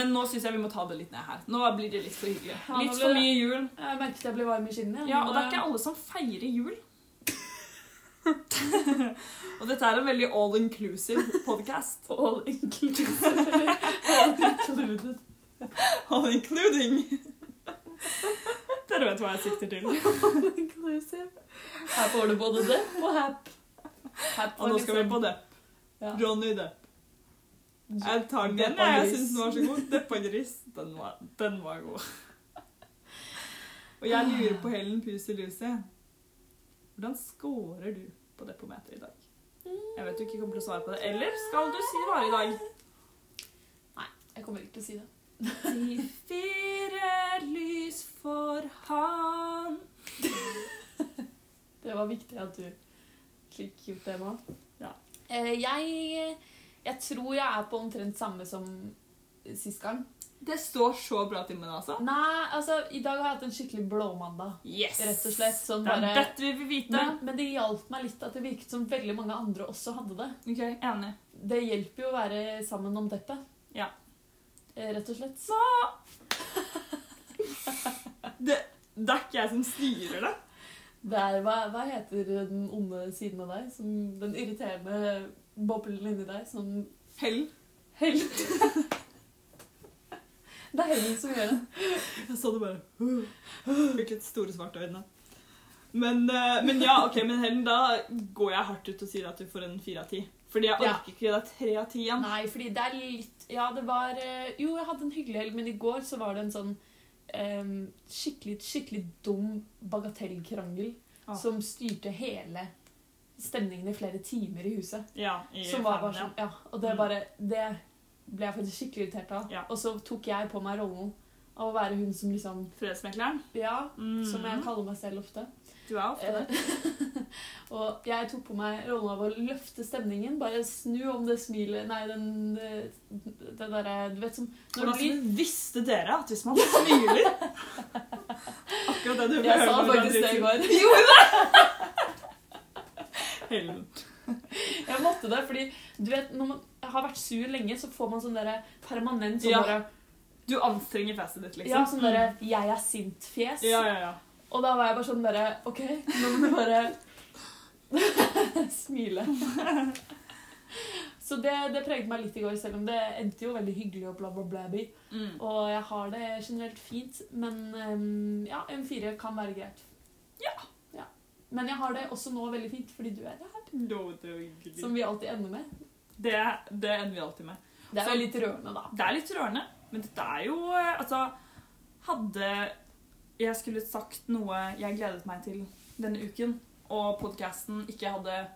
[SPEAKER 2] Men nå syns jeg vi må ta det litt ned her. Nå blir det litt for hyggelig.
[SPEAKER 1] Ja, nå
[SPEAKER 2] Litt
[SPEAKER 1] blir
[SPEAKER 2] for
[SPEAKER 1] det-
[SPEAKER 2] mye jul.
[SPEAKER 1] Jeg merket jeg ble varm i eh, skinnet.
[SPEAKER 2] Ja, og det er ikke alle som feirer <laughs> jul. og dette er en veldig all inclusive <laughs> podcast.
[SPEAKER 1] All <laughs> inclusive. All included.
[SPEAKER 2] All including. <laughs> Dere vet hva jeg sikter til.
[SPEAKER 1] All inclusive. Her får du både det og hap. Hap
[SPEAKER 2] Og nå skal vi på Depp.
[SPEAKER 1] Ja.
[SPEAKER 2] Johnny Depp. Jeg tar den igjen.
[SPEAKER 1] Depp og
[SPEAKER 2] Jeg
[SPEAKER 1] gris.
[SPEAKER 2] syns den var så god. Depp og gris. Den var, den var god. Og jeg lurer på Helen Pus i luset. Hvordan scorer du på depometer i dag. Jeg vet du ikke kommer til å svare på det. Eller skal du si bare i dag?
[SPEAKER 1] Jeg kommer ikke til å si det.
[SPEAKER 2] De fire lys for han.
[SPEAKER 1] Det var viktig at du fikk gjort det nå.
[SPEAKER 2] Ja.
[SPEAKER 1] Eh, jeg, jeg tror jeg er på omtrent samme som sist gang.
[SPEAKER 2] Det står så bra til med det, altså.
[SPEAKER 1] Nei, altså, i dag har jeg hatt en skikkelig blåmandag.
[SPEAKER 2] Yes!
[SPEAKER 1] Rett og slett sånn
[SPEAKER 2] Det er
[SPEAKER 1] bare
[SPEAKER 2] dette vi vil vite.
[SPEAKER 1] men, men det hjalp meg litt at det virket som veldig mange andre også hadde det.
[SPEAKER 2] Ok, Enig.
[SPEAKER 1] Det hjelper jo å være sammen om teppet.
[SPEAKER 2] Ja.
[SPEAKER 1] Eh, Rett og slett.
[SPEAKER 2] Det er ikke jeg som styrer det.
[SPEAKER 1] Det er, hva, hva heter den onde siden av deg? Som, den irriterende boblen inni deg som
[SPEAKER 2] Hell.
[SPEAKER 1] Hell. <laughs> det er hellen som gjør det.
[SPEAKER 2] Jeg så det bare. <gasps> Fikk litt store, svarte øyne. Men, eh, men ja, ok, men Helen, da går jeg hardt ut og sier at du får en fire av ti. Fordi jeg
[SPEAKER 1] Ja.
[SPEAKER 2] orker ikke gi deg tre av ti igjen.
[SPEAKER 1] Nei, fordi det er litt Ja, det var eh, Jo, jeg hadde en hyggelig helg, men i går så var det en sånn em, skikkelig, skikkelig dum bagatellkrangel
[SPEAKER 2] Ah.
[SPEAKER 1] som styrte hele stemningen i flere timer i huset.
[SPEAKER 2] Ja, i
[SPEAKER 1] Som var
[SPEAKER 2] fermen,
[SPEAKER 1] bare sånn Ja, og det
[SPEAKER 2] Mm.
[SPEAKER 1] bare Det ble jeg faktisk skikkelig irritert av.
[SPEAKER 2] Ja.
[SPEAKER 1] Og så tok jeg på meg rollen av å være hun som liksom
[SPEAKER 2] ja. Fredsmekleren.
[SPEAKER 1] Ja,
[SPEAKER 2] Mm.
[SPEAKER 1] som jeg kaller meg selv ofte.
[SPEAKER 2] Du er ofte det.
[SPEAKER 1] Eh, <laughs> og jeg tok på meg rollen av å løfte stemningen. Bare snu om det smilet Nei, den det, det derre Du vet som når du
[SPEAKER 2] Hvordan <laughs>
[SPEAKER 1] blir
[SPEAKER 2] visste dere at hvis man
[SPEAKER 1] <laughs>
[SPEAKER 2] smiler Akkurat det du
[SPEAKER 1] Jeg sa faktisk det i går. <laughs>
[SPEAKER 2] Helen.
[SPEAKER 1] Jeg måtte det, fordi du vet, når man har vært sur lenge, så får man sånn derre permanent sånn
[SPEAKER 2] Ja,
[SPEAKER 1] derre
[SPEAKER 2] Du anstrenger fjeset ditt, liksom.
[SPEAKER 1] Ja, sånn derre 'jeg er sint'-fjes.
[SPEAKER 2] ja, ja, ja.
[SPEAKER 1] Og da var jeg bare sånn derre OK, nå må du bare <laughs> smile. Så det, det preget meg litt i går, selv om det endte jo veldig hyggelig og bla, bla, bla. bla.
[SPEAKER 2] Mm.
[SPEAKER 1] Og jeg har det generelt fint, men ehm, ja, en fire kan være greit.
[SPEAKER 2] Ja.
[SPEAKER 1] ja. Men jeg har det også nå veldig fint, fordi du er her.
[SPEAKER 2] Lov til å gli.
[SPEAKER 1] Som vi alltid ender med.
[SPEAKER 2] Det, det ender vi alltid med.
[SPEAKER 1] Det er
[SPEAKER 2] Så-
[SPEAKER 1] jo litt rørende, da.
[SPEAKER 2] Det er litt rørende, men dette er jo eh, Altså, hadde jeg skulle sagt noe jeg gledet meg til denne uken, og podkasten ikke hadde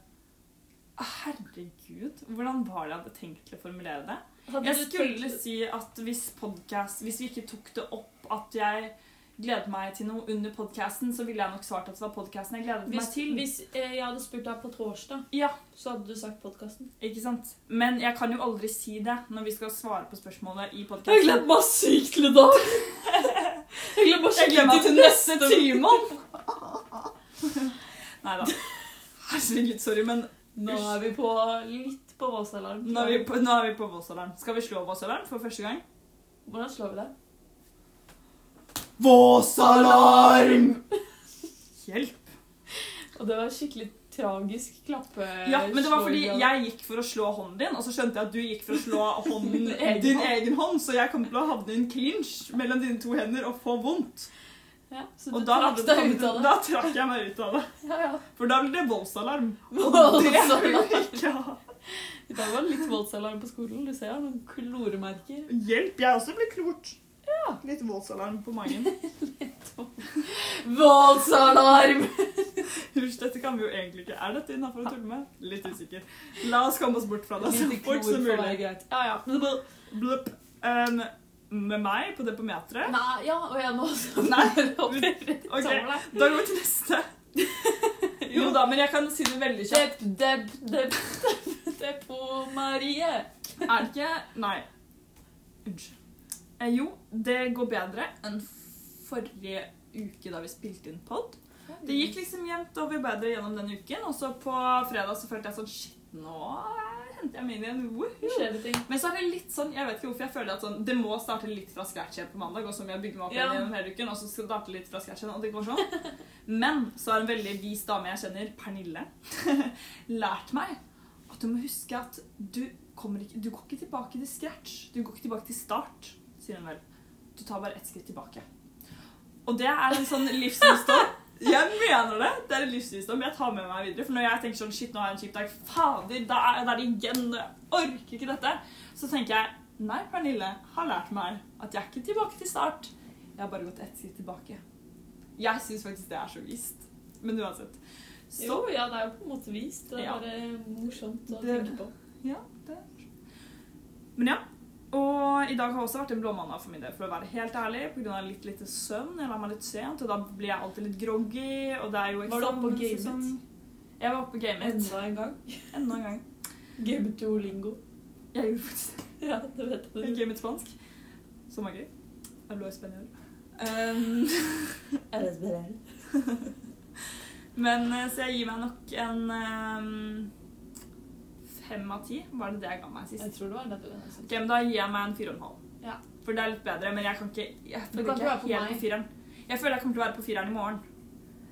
[SPEAKER 2] Herregud, hvordan var det jeg hadde tenkt til å formulere det?
[SPEAKER 1] Hadde
[SPEAKER 2] Jeg
[SPEAKER 1] du
[SPEAKER 2] skulle
[SPEAKER 1] tenkt-
[SPEAKER 2] si at hvis podcast, hvis vi ikke tok det opp at jeg gledet meg til noe under podcasten, så ville jeg nok svart at det var podcasten jeg gledet
[SPEAKER 1] hvis,
[SPEAKER 2] meg til.
[SPEAKER 1] hvis eh, jeg hadde spurt deg på torsdag,
[SPEAKER 2] Ja,
[SPEAKER 1] så hadde du sagt podkasten.
[SPEAKER 2] ikke sant? Men jeg kan jo aldri si det når vi skal svare på spørsmålet i
[SPEAKER 1] Jeg
[SPEAKER 2] podcasten.
[SPEAKER 1] gleder meg sykt til i dag! Jeg gleder meg
[SPEAKER 2] Jeg gleder meg
[SPEAKER 1] skikkelig
[SPEAKER 2] til
[SPEAKER 1] til neste time!
[SPEAKER 2] <laughs> Neida. Herregud, sorry, men
[SPEAKER 1] Nå er vi på litt på våsalarm.
[SPEAKER 2] nå er vi på, nå er vi på Vås-alarm. Skal vi slå Vås-alarm for første gang?
[SPEAKER 1] Hvordan slår vi det?
[SPEAKER 2] Vås-alarm! Hjelp.
[SPEAKER 1] Og det var skikkelig tragisk klappe...
[SPEAKER 2] Ja, men det var fordi
[SPEAKER 1] slåing av-
[SPEAKER 2] jeg gikk for å slå hånden din, og så skjønte jeg at du gikk for å slå
[SPEAKER 1] <laughs>
[SPEAKER 2] hånden,
[SPEAKER 1] Din egen
[SPEAKER 2] din
[SPEAKER 1] hånd.
[SPEAKER 2] egen hånd, så jeg kom til å havne i en clinch mellom dine to hender og få vondt.
[SPEAKER 1] Ja, så du
[SPEAKER 2] Og da,
[SPEAKER 1] trakk
[SPEAKER 2] hadde det
[SPEAKER 1] deg ut
[SPEAKER 2] kommet-
[SPEAKER 1] av det.
[SPEAKER 2] da trakk jeg meg ut av det.
[SPEAKER 1] Ja, ja.
[SPEAKER 2] For da ble det
[SPEAKER 1] <laughs>
[SPEAKER 2] voldsalarm. <laughs> Og det vil
[SPEAKER 1] Voldsalarm.
[SPEAKER 2] jeg ikke ha.
[SPEAKER 1] I dag var det litt voldsalarm på skolen. Du ser noen kloremerker.
[SPEAKER 2] Hjelp, jeg også ble klort. Ja, litt voldsalarm på magen.
[SPEAKER 1] Voldsalarm!
[SPEAKER 2] Husj, dette kan vi jo egentlig ikke. Er dette innafor å tulle med? Litt usikker. La oss komme oss bort fra det så
[SPEAKER 1] Lite klor
[SPEAKER 2] fort som
[SPEAKER 1] for meg er
[SPEAKER 2] mulig.
[SPEAKER 1] greit. Ja, ja.
[SPEAKER 2] Blup. Um, med meg på depometeret
[SPEAKER 1] Nei, ja, og jeg nå så
[SPEAKER 2] Nei,
[SPEAKER 1] <laughs> hopper rett
[SPEAKER 2] ok.
[SPEAKER 1] over deg.
[SPEAKER 2] Da går vi til neste. <laughs> Jo da, men jeg kan si det veldig kjapt.
[SPEAKER 1] Depp, depp, depp, depp, deppo Marie.
[SPEAKER 2] Er det ikke Nei. Unnskyld. Eh, jo, det går bedre enn forrige uke da vi spilte inn pod. Det gikk liksom jevnt over bedre gjennom den uken, og så på fredag så følte jeg sånn Shit, nå eh, henter jeg meg inn igjen.
[SPEAKER 1] Nå
[SPEAKER 2] Woohoo!
[SPEAKER 1] skjer det ting.
[SPEAKER 2] Men så er det litt sånn, jeg vet ikke hvorfor jeg føler at sånn, det må starte litt fra scratch igjen på mandag, og så må jeg bygge meg opp igjen
[SPEAKER 1] Ja.
[SPEAKER 2] gjennom hele uken, og så skal det starte litt fra scratch igjen, og det går sånn. <laughs> Men så har en veldig vis dame jeg kjenner, Pernille, <laughs> lært meg at du må huske at du, kommer ikke, du går ikke tilbake til scratch, du går ikke tilbake til start, sier hun vel. Du tar bare ett skritt tilbake. Og det er en sånn livsvisdom. <laughs> Jeg mener det. Det er en livsvisdom jeg tar med meg videre. For når jeg tenker sånn Shit, nå har jeg en kjip dag. Fader, da er det igjen. Jeg orker ikke dette. Så tenker jeg Nei, Pernille har lært meg at jeg er ikke tilbake til start. Jeg har bare gått ett skritt tilbake. Jeg syns faktisk det er så vist. Men uansett. Så
[SPEAKER 1] Jo, ja, det er jo på en måte vist. Det er
[SPEAKER 2] Ja.
[SPEAKER 1] bare morsomt å
[SPEAKER 2] Det-
[SPEAKER 1] tenke på.
[SPEAKER 2] Ja, det er Men ja. Og i dag har også vært en blåmandag for min del, for å være helt ærlig. Pga. litt lite søvn. Jeg la meg litt sent, og da blir jeg alltid litt groggy. Og det er jo
[SPEAKER 1] Var du oppe og
[SPEAKER 2] eksamenssesong. Jeg var oppe og gamet.
[SPEAKER 1] Enda en gang.
[SPEAKER 2] Enda en gang.
[SPEAKER 1] Gamet Lingo.
[SPEAKER 2] Jeg gjorde faktisk det.
[SPEAKER 1] Ja, det vet
[SPEAKER 2] Jeg
[SPEAKER 1] du. <laughs>
[SPEAKER 2] gamet spansk. Som var gøy. Hablo español. Um, men eh, så jeg gir meg nok en eh, fem av ti. Var det det jeg ga meg sist?
[SPEAKER 1] Jeg tror det var det du sa.
[SPEAKER 2] Ok, men da gir jeg meg en fire og en halv.
[SPEAKER 1] Ja.
[SPEAKER 2] For det er litt bedre, men jeg kan ikke Jeg
[SPEAKER 1] Du kan
[SPEAKER 2] føler ikke
[SPEAKER 1] ikke være
[SPEAKER 2] jeg
[SPEAKER 1] på
[SPEAKER 2] er helt
[SPEAKER 1] meg.
[SPEAKER 2] på fireren. Jeg føler jeg kommer til å være på fireren i morgen.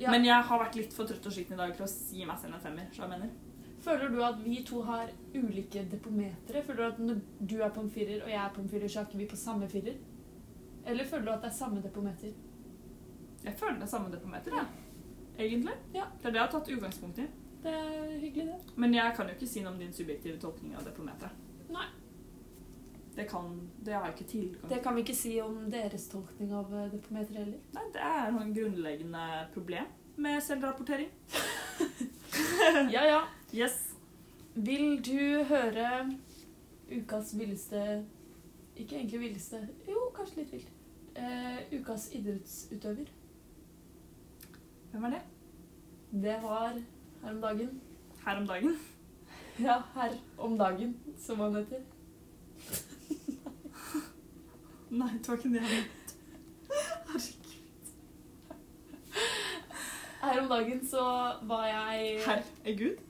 [SPEAKER 1] Ja.
[SPEAKER 2] Men jeg har vært litt for trøtt og sliten i dag til å gi meg selv en femmer. Så jeg mener.
[SPEAKER 1] Føler du at vi to har ulike depometere? Føler du at når du er på en firer og jeg er på en firer, så er ikke vi på samme firer? Eller føler du at det er samme depometer?
[SPEAKER 2] Jeg føler det er samme depometer, jeg. Egentlig.
[SPEAKER 1] Ja.
[SPEAKER 2] Det er det jeg har tatt utgangspunkt i.
[SPEAKER 1] Det er hyggelig, det.
[SPEAKER 2] Men jeg kan jo ikke si noe om din subjektive tolkning av depometeret.
[SPEAKER 1] Nei.
[SPEAKER 2] Det kan Det har jeg ikke tilgang
[SPEAKER 1] Det kan vi ikke si om deres tolkning av eh, depometer heller.
[SPEAKER 2] Nei, det er noen grunnleggende problem med selvrapportering.
[SPEAKER 1] Ja, ja.
[SPEAKER 2] Yes.
[SPEAKER 1] Vil du høre ukas villeste Ikke egentlig villeste, jo, kanskje litt vilt. Eh, ukas idrettsutøver.
[SPEAKER 2] Hvem er det?
[SPEAKER 1] Det var her om dagen.
[SPEAKER 2] Her om dagen. <laughs>
[SPEAKER 1] Ja, her om dagen, som han heter.
[SPEAKER 2] Nei, det var ikke det.
[SPEAKER 1] Her om dagen så var jeg
[SPEAKER 2] Herr er Gud.
[SPEAKER 1] <laughs>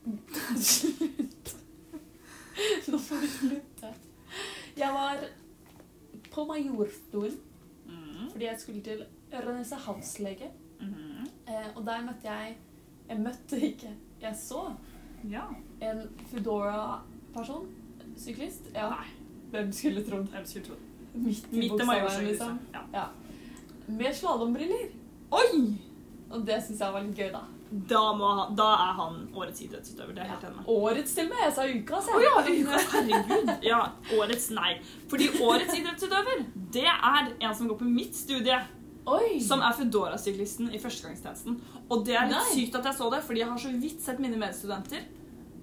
[SPEAKER 1] Nå får du slutte. Jeg var på Majorstuen
[SPEAKER 2] Mm.
[SPEAKER 1] fordi jeg skulle til Ørnese Havslege.
[SPEAKER 2] Mhm.
[SPEAKER 1] Eh, og der møtte jeg Jeg møtte ikke. Jeg så
[SPEAKER 2] Ja.
[SPEAKER 1] en Foodora-person. Syklist. Ja. Hvem skulle trodd?
[SPEAKER 2] Hvem skulle trodd?
[SPEAKER 1] Midt i liksom.
[SPEAKER 2] Midt i
[SPEAKER 1] buksa,
[SPEAKER 2] Majorstua,
[SPEAKER 1] liksom.
[SPEAKER 2] liksom. Ja.
[SPEAKER 1] Med slalåmbriller.
[SPEAKER 2] Oi!
[SPEAKER 1] Og det syns jeg var litt gøy, da.
[SPEAKER 2] Da, må han, da er han årets idrettsutøver. Det er jeg helt enig med.
[SPEAKER 1] Årets til og med. Jeg sa ukas,
[SPEAKER 2] Å ja, ukas, herregud. Ja, årets nei. Fordi årets idrettsutøver, det er en som går på mitt studie.
[SPEAKER 1] Oi!
[SPEAKER 2] Som er Foodora-syklisten i førstegangstjenesten. Og det er litt
[SPEAKER 1] Nei.
[SPEAKER 2] sykt at jeg så det, fordi jeg har så vidt sett mine medstudenter.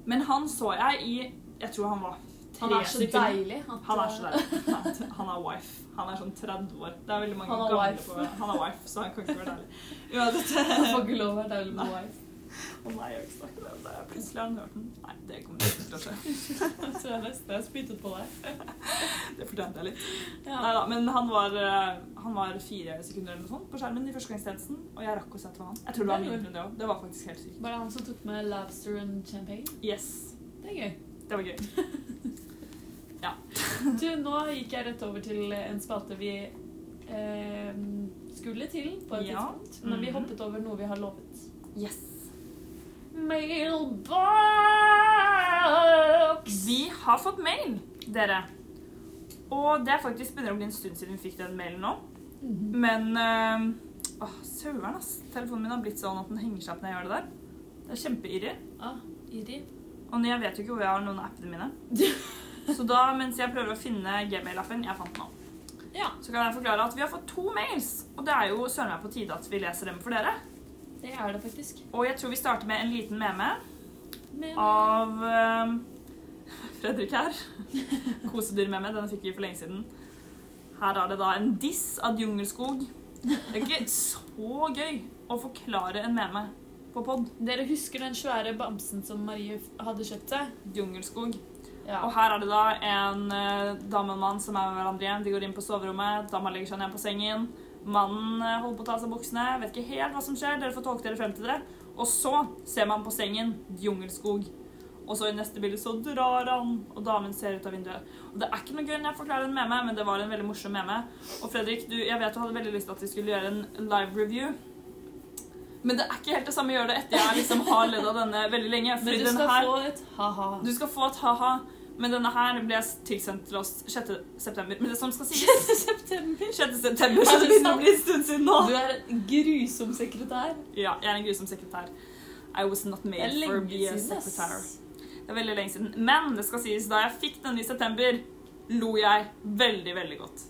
[SPEAKER 2] Men han så jeg i Jeg tror han var
[SPEAKER 1] han
[SPEAKER 2] tre
[SPEAKER 1] er så
[SPEAKER 2] sekunder.
[SPEAKER 1] deilig. At, eh,
[SPEAKER 2] Han er så deilig. Han- Han er wife. Han er sånn 30 år. Det er veldig mange
[SPEAKER 1] Han er
[SPEAKER 2] gamle
[SPEAKER 1] wife.
[SPEAKER 2] på Han er wife, så han kan ikke være deilig. Uansett.
[SPEAKER 1] Han <laughs> får ikke lov å være deilig med
[SPEAKER 2] Nei.
[SPEAKER 1] wife.
[SPEAKER 2] Å nei, jeg vil ikke snakke om det. Plutselig har han hørt den. Nei, det kommer ikke til å skje.
[SPEAKER 1] Jeg tror jeg nesten jeg spyttet på deg.
[SPEAKER 2] Det fortjente jeg litt.
[SPEAKER 1] Ja.
[SPEAKER 2] Neida, men han var, eh, han var fire sekunder eller noe sånt på skjermen i førstegangstjenesten, og jeg rakk å sette på han. Jeg tror det var mindre enn det òg. Det var faktisk helt sykt.
[SPEAKER 1] Var det han som tok med lobster and champagne?
[SPEAKER 2] Yes.
[SPEAKER 1] Det er gøy.
[SPEAKER 2] Det var gøy.
[SPEAKER 1] Du, nå gikk jeg rett over til en spalte vi eh, skulle til på et
[SPEAKER 2] Ja.
[SPEAKER 1] tidspunkt. Men vi
[SPEAKER 2] Mhm.
[SPEAKER 1] hoppet over noe vi har lovet.
[SPEAKER 2] Yes.
[SPEAKER 1] Mailbox!
[SPEAKER 2] Vi har fått mail, dere. Og det er faktisk begynner å bli en stund siden vi fikk den mailen nå. Men eh, Åh, søren, ass. Telefonen min har blitt sånn at den henger seg opp når jeg gjør det der. Det er kjempeirri.
[SPEAKER 1] Ah, Iri.
[SPEAKER 2] Og jeg vet jo ikke hvor jeg har noen av appene
[SPEAKER 1] <laughs>
[SPEAKER 2] mine. Så da, mens jeg prøver å finne gmail-appen jeg fant nå,
[SPEAKER 1] Ja,
[SPEAKER 2] så kan jeg forklare at vi har fått to mails. Og det er jo søren meg på tide at vi leser dem for dere.
[SPEAKER 1] det er det faktisk.
[SPEAKER 2] Og jeg tror vi starter med en liten meme
[SPEAKER 1] Men
[SPEAKER 2] Ah. av eh, Fredrik her. Kosedyr-meme. Den fikk vi for lenge siden. Her er det da en diss av Jungelskog. Det er ikke så gøy å forklare en meme på pod.
[SPEAKER 1] dere husker den svære bamsen som Marie f- hadde kjøpt seg?
[SPEAKER 2] Jungelskog. Og
[SPEAKER 1] Ja.
[SPEAKER 2] her er det da en eh, dame og en mann som er med hverandre igjen. De går inn på soverommet, dama legger seg ned på sengen. Mannen eh, holder på å ta av seg buksene, vet ikke helt hva som skjer, dere får tolke dere frem til det. Og så ser man på sengen jungelskog. Og så i neste bilde så drar han, og damen ser ut av vinduet. Og det er ikke noe gøy når jeg forklarer en meme, men det var en veldig morsom meme. Og Fredrik, du, jeg vet du hadde veldig lyst til at vi skulle gjøre en live review. Men det er ikke helt det samme å gjøre det etter jeg liksom har ledd av denne veldig lenge.
[SPEAKER 1] Men
[SPEAKER 2] fordi
[SPEAKER 1] du
[SPEAKER 2] den
[SPEAKER 1] skal
[SPEAKER 2] her-
[SPEAKER 1] få et ha-ha. <laughs>
[SPEAKER 2] du skal få et ha-ha, men denne her ble tilsendt til oss 6. september. Men det som
[SPEAKER 1] <laughs>
[SPEAKER 2] skal sies 6.
[SPEAKER 1] September.
[SPEAKER 2] september, så det begynner å bli en stund siden nå.
[SPEAKER 1] Du er en grusom sekretær.
[SPEAKER 2] Ja, jeg er en grusom sekretær. I was not
[SPEAKER 1] Det er
[SPEAKER 2] made for
[SPEAKER 1] lenge
[SPEAKER 2] be a
[SPEAKER 1] siden,
[SPEAKER 2] secretary.
[SPEAKER 1] ass.
[SPEAKER 2] Det er veldig lenge siden. Men det skal sies, da jeg fikk denne i september, lo jeg veldig, veldig godt.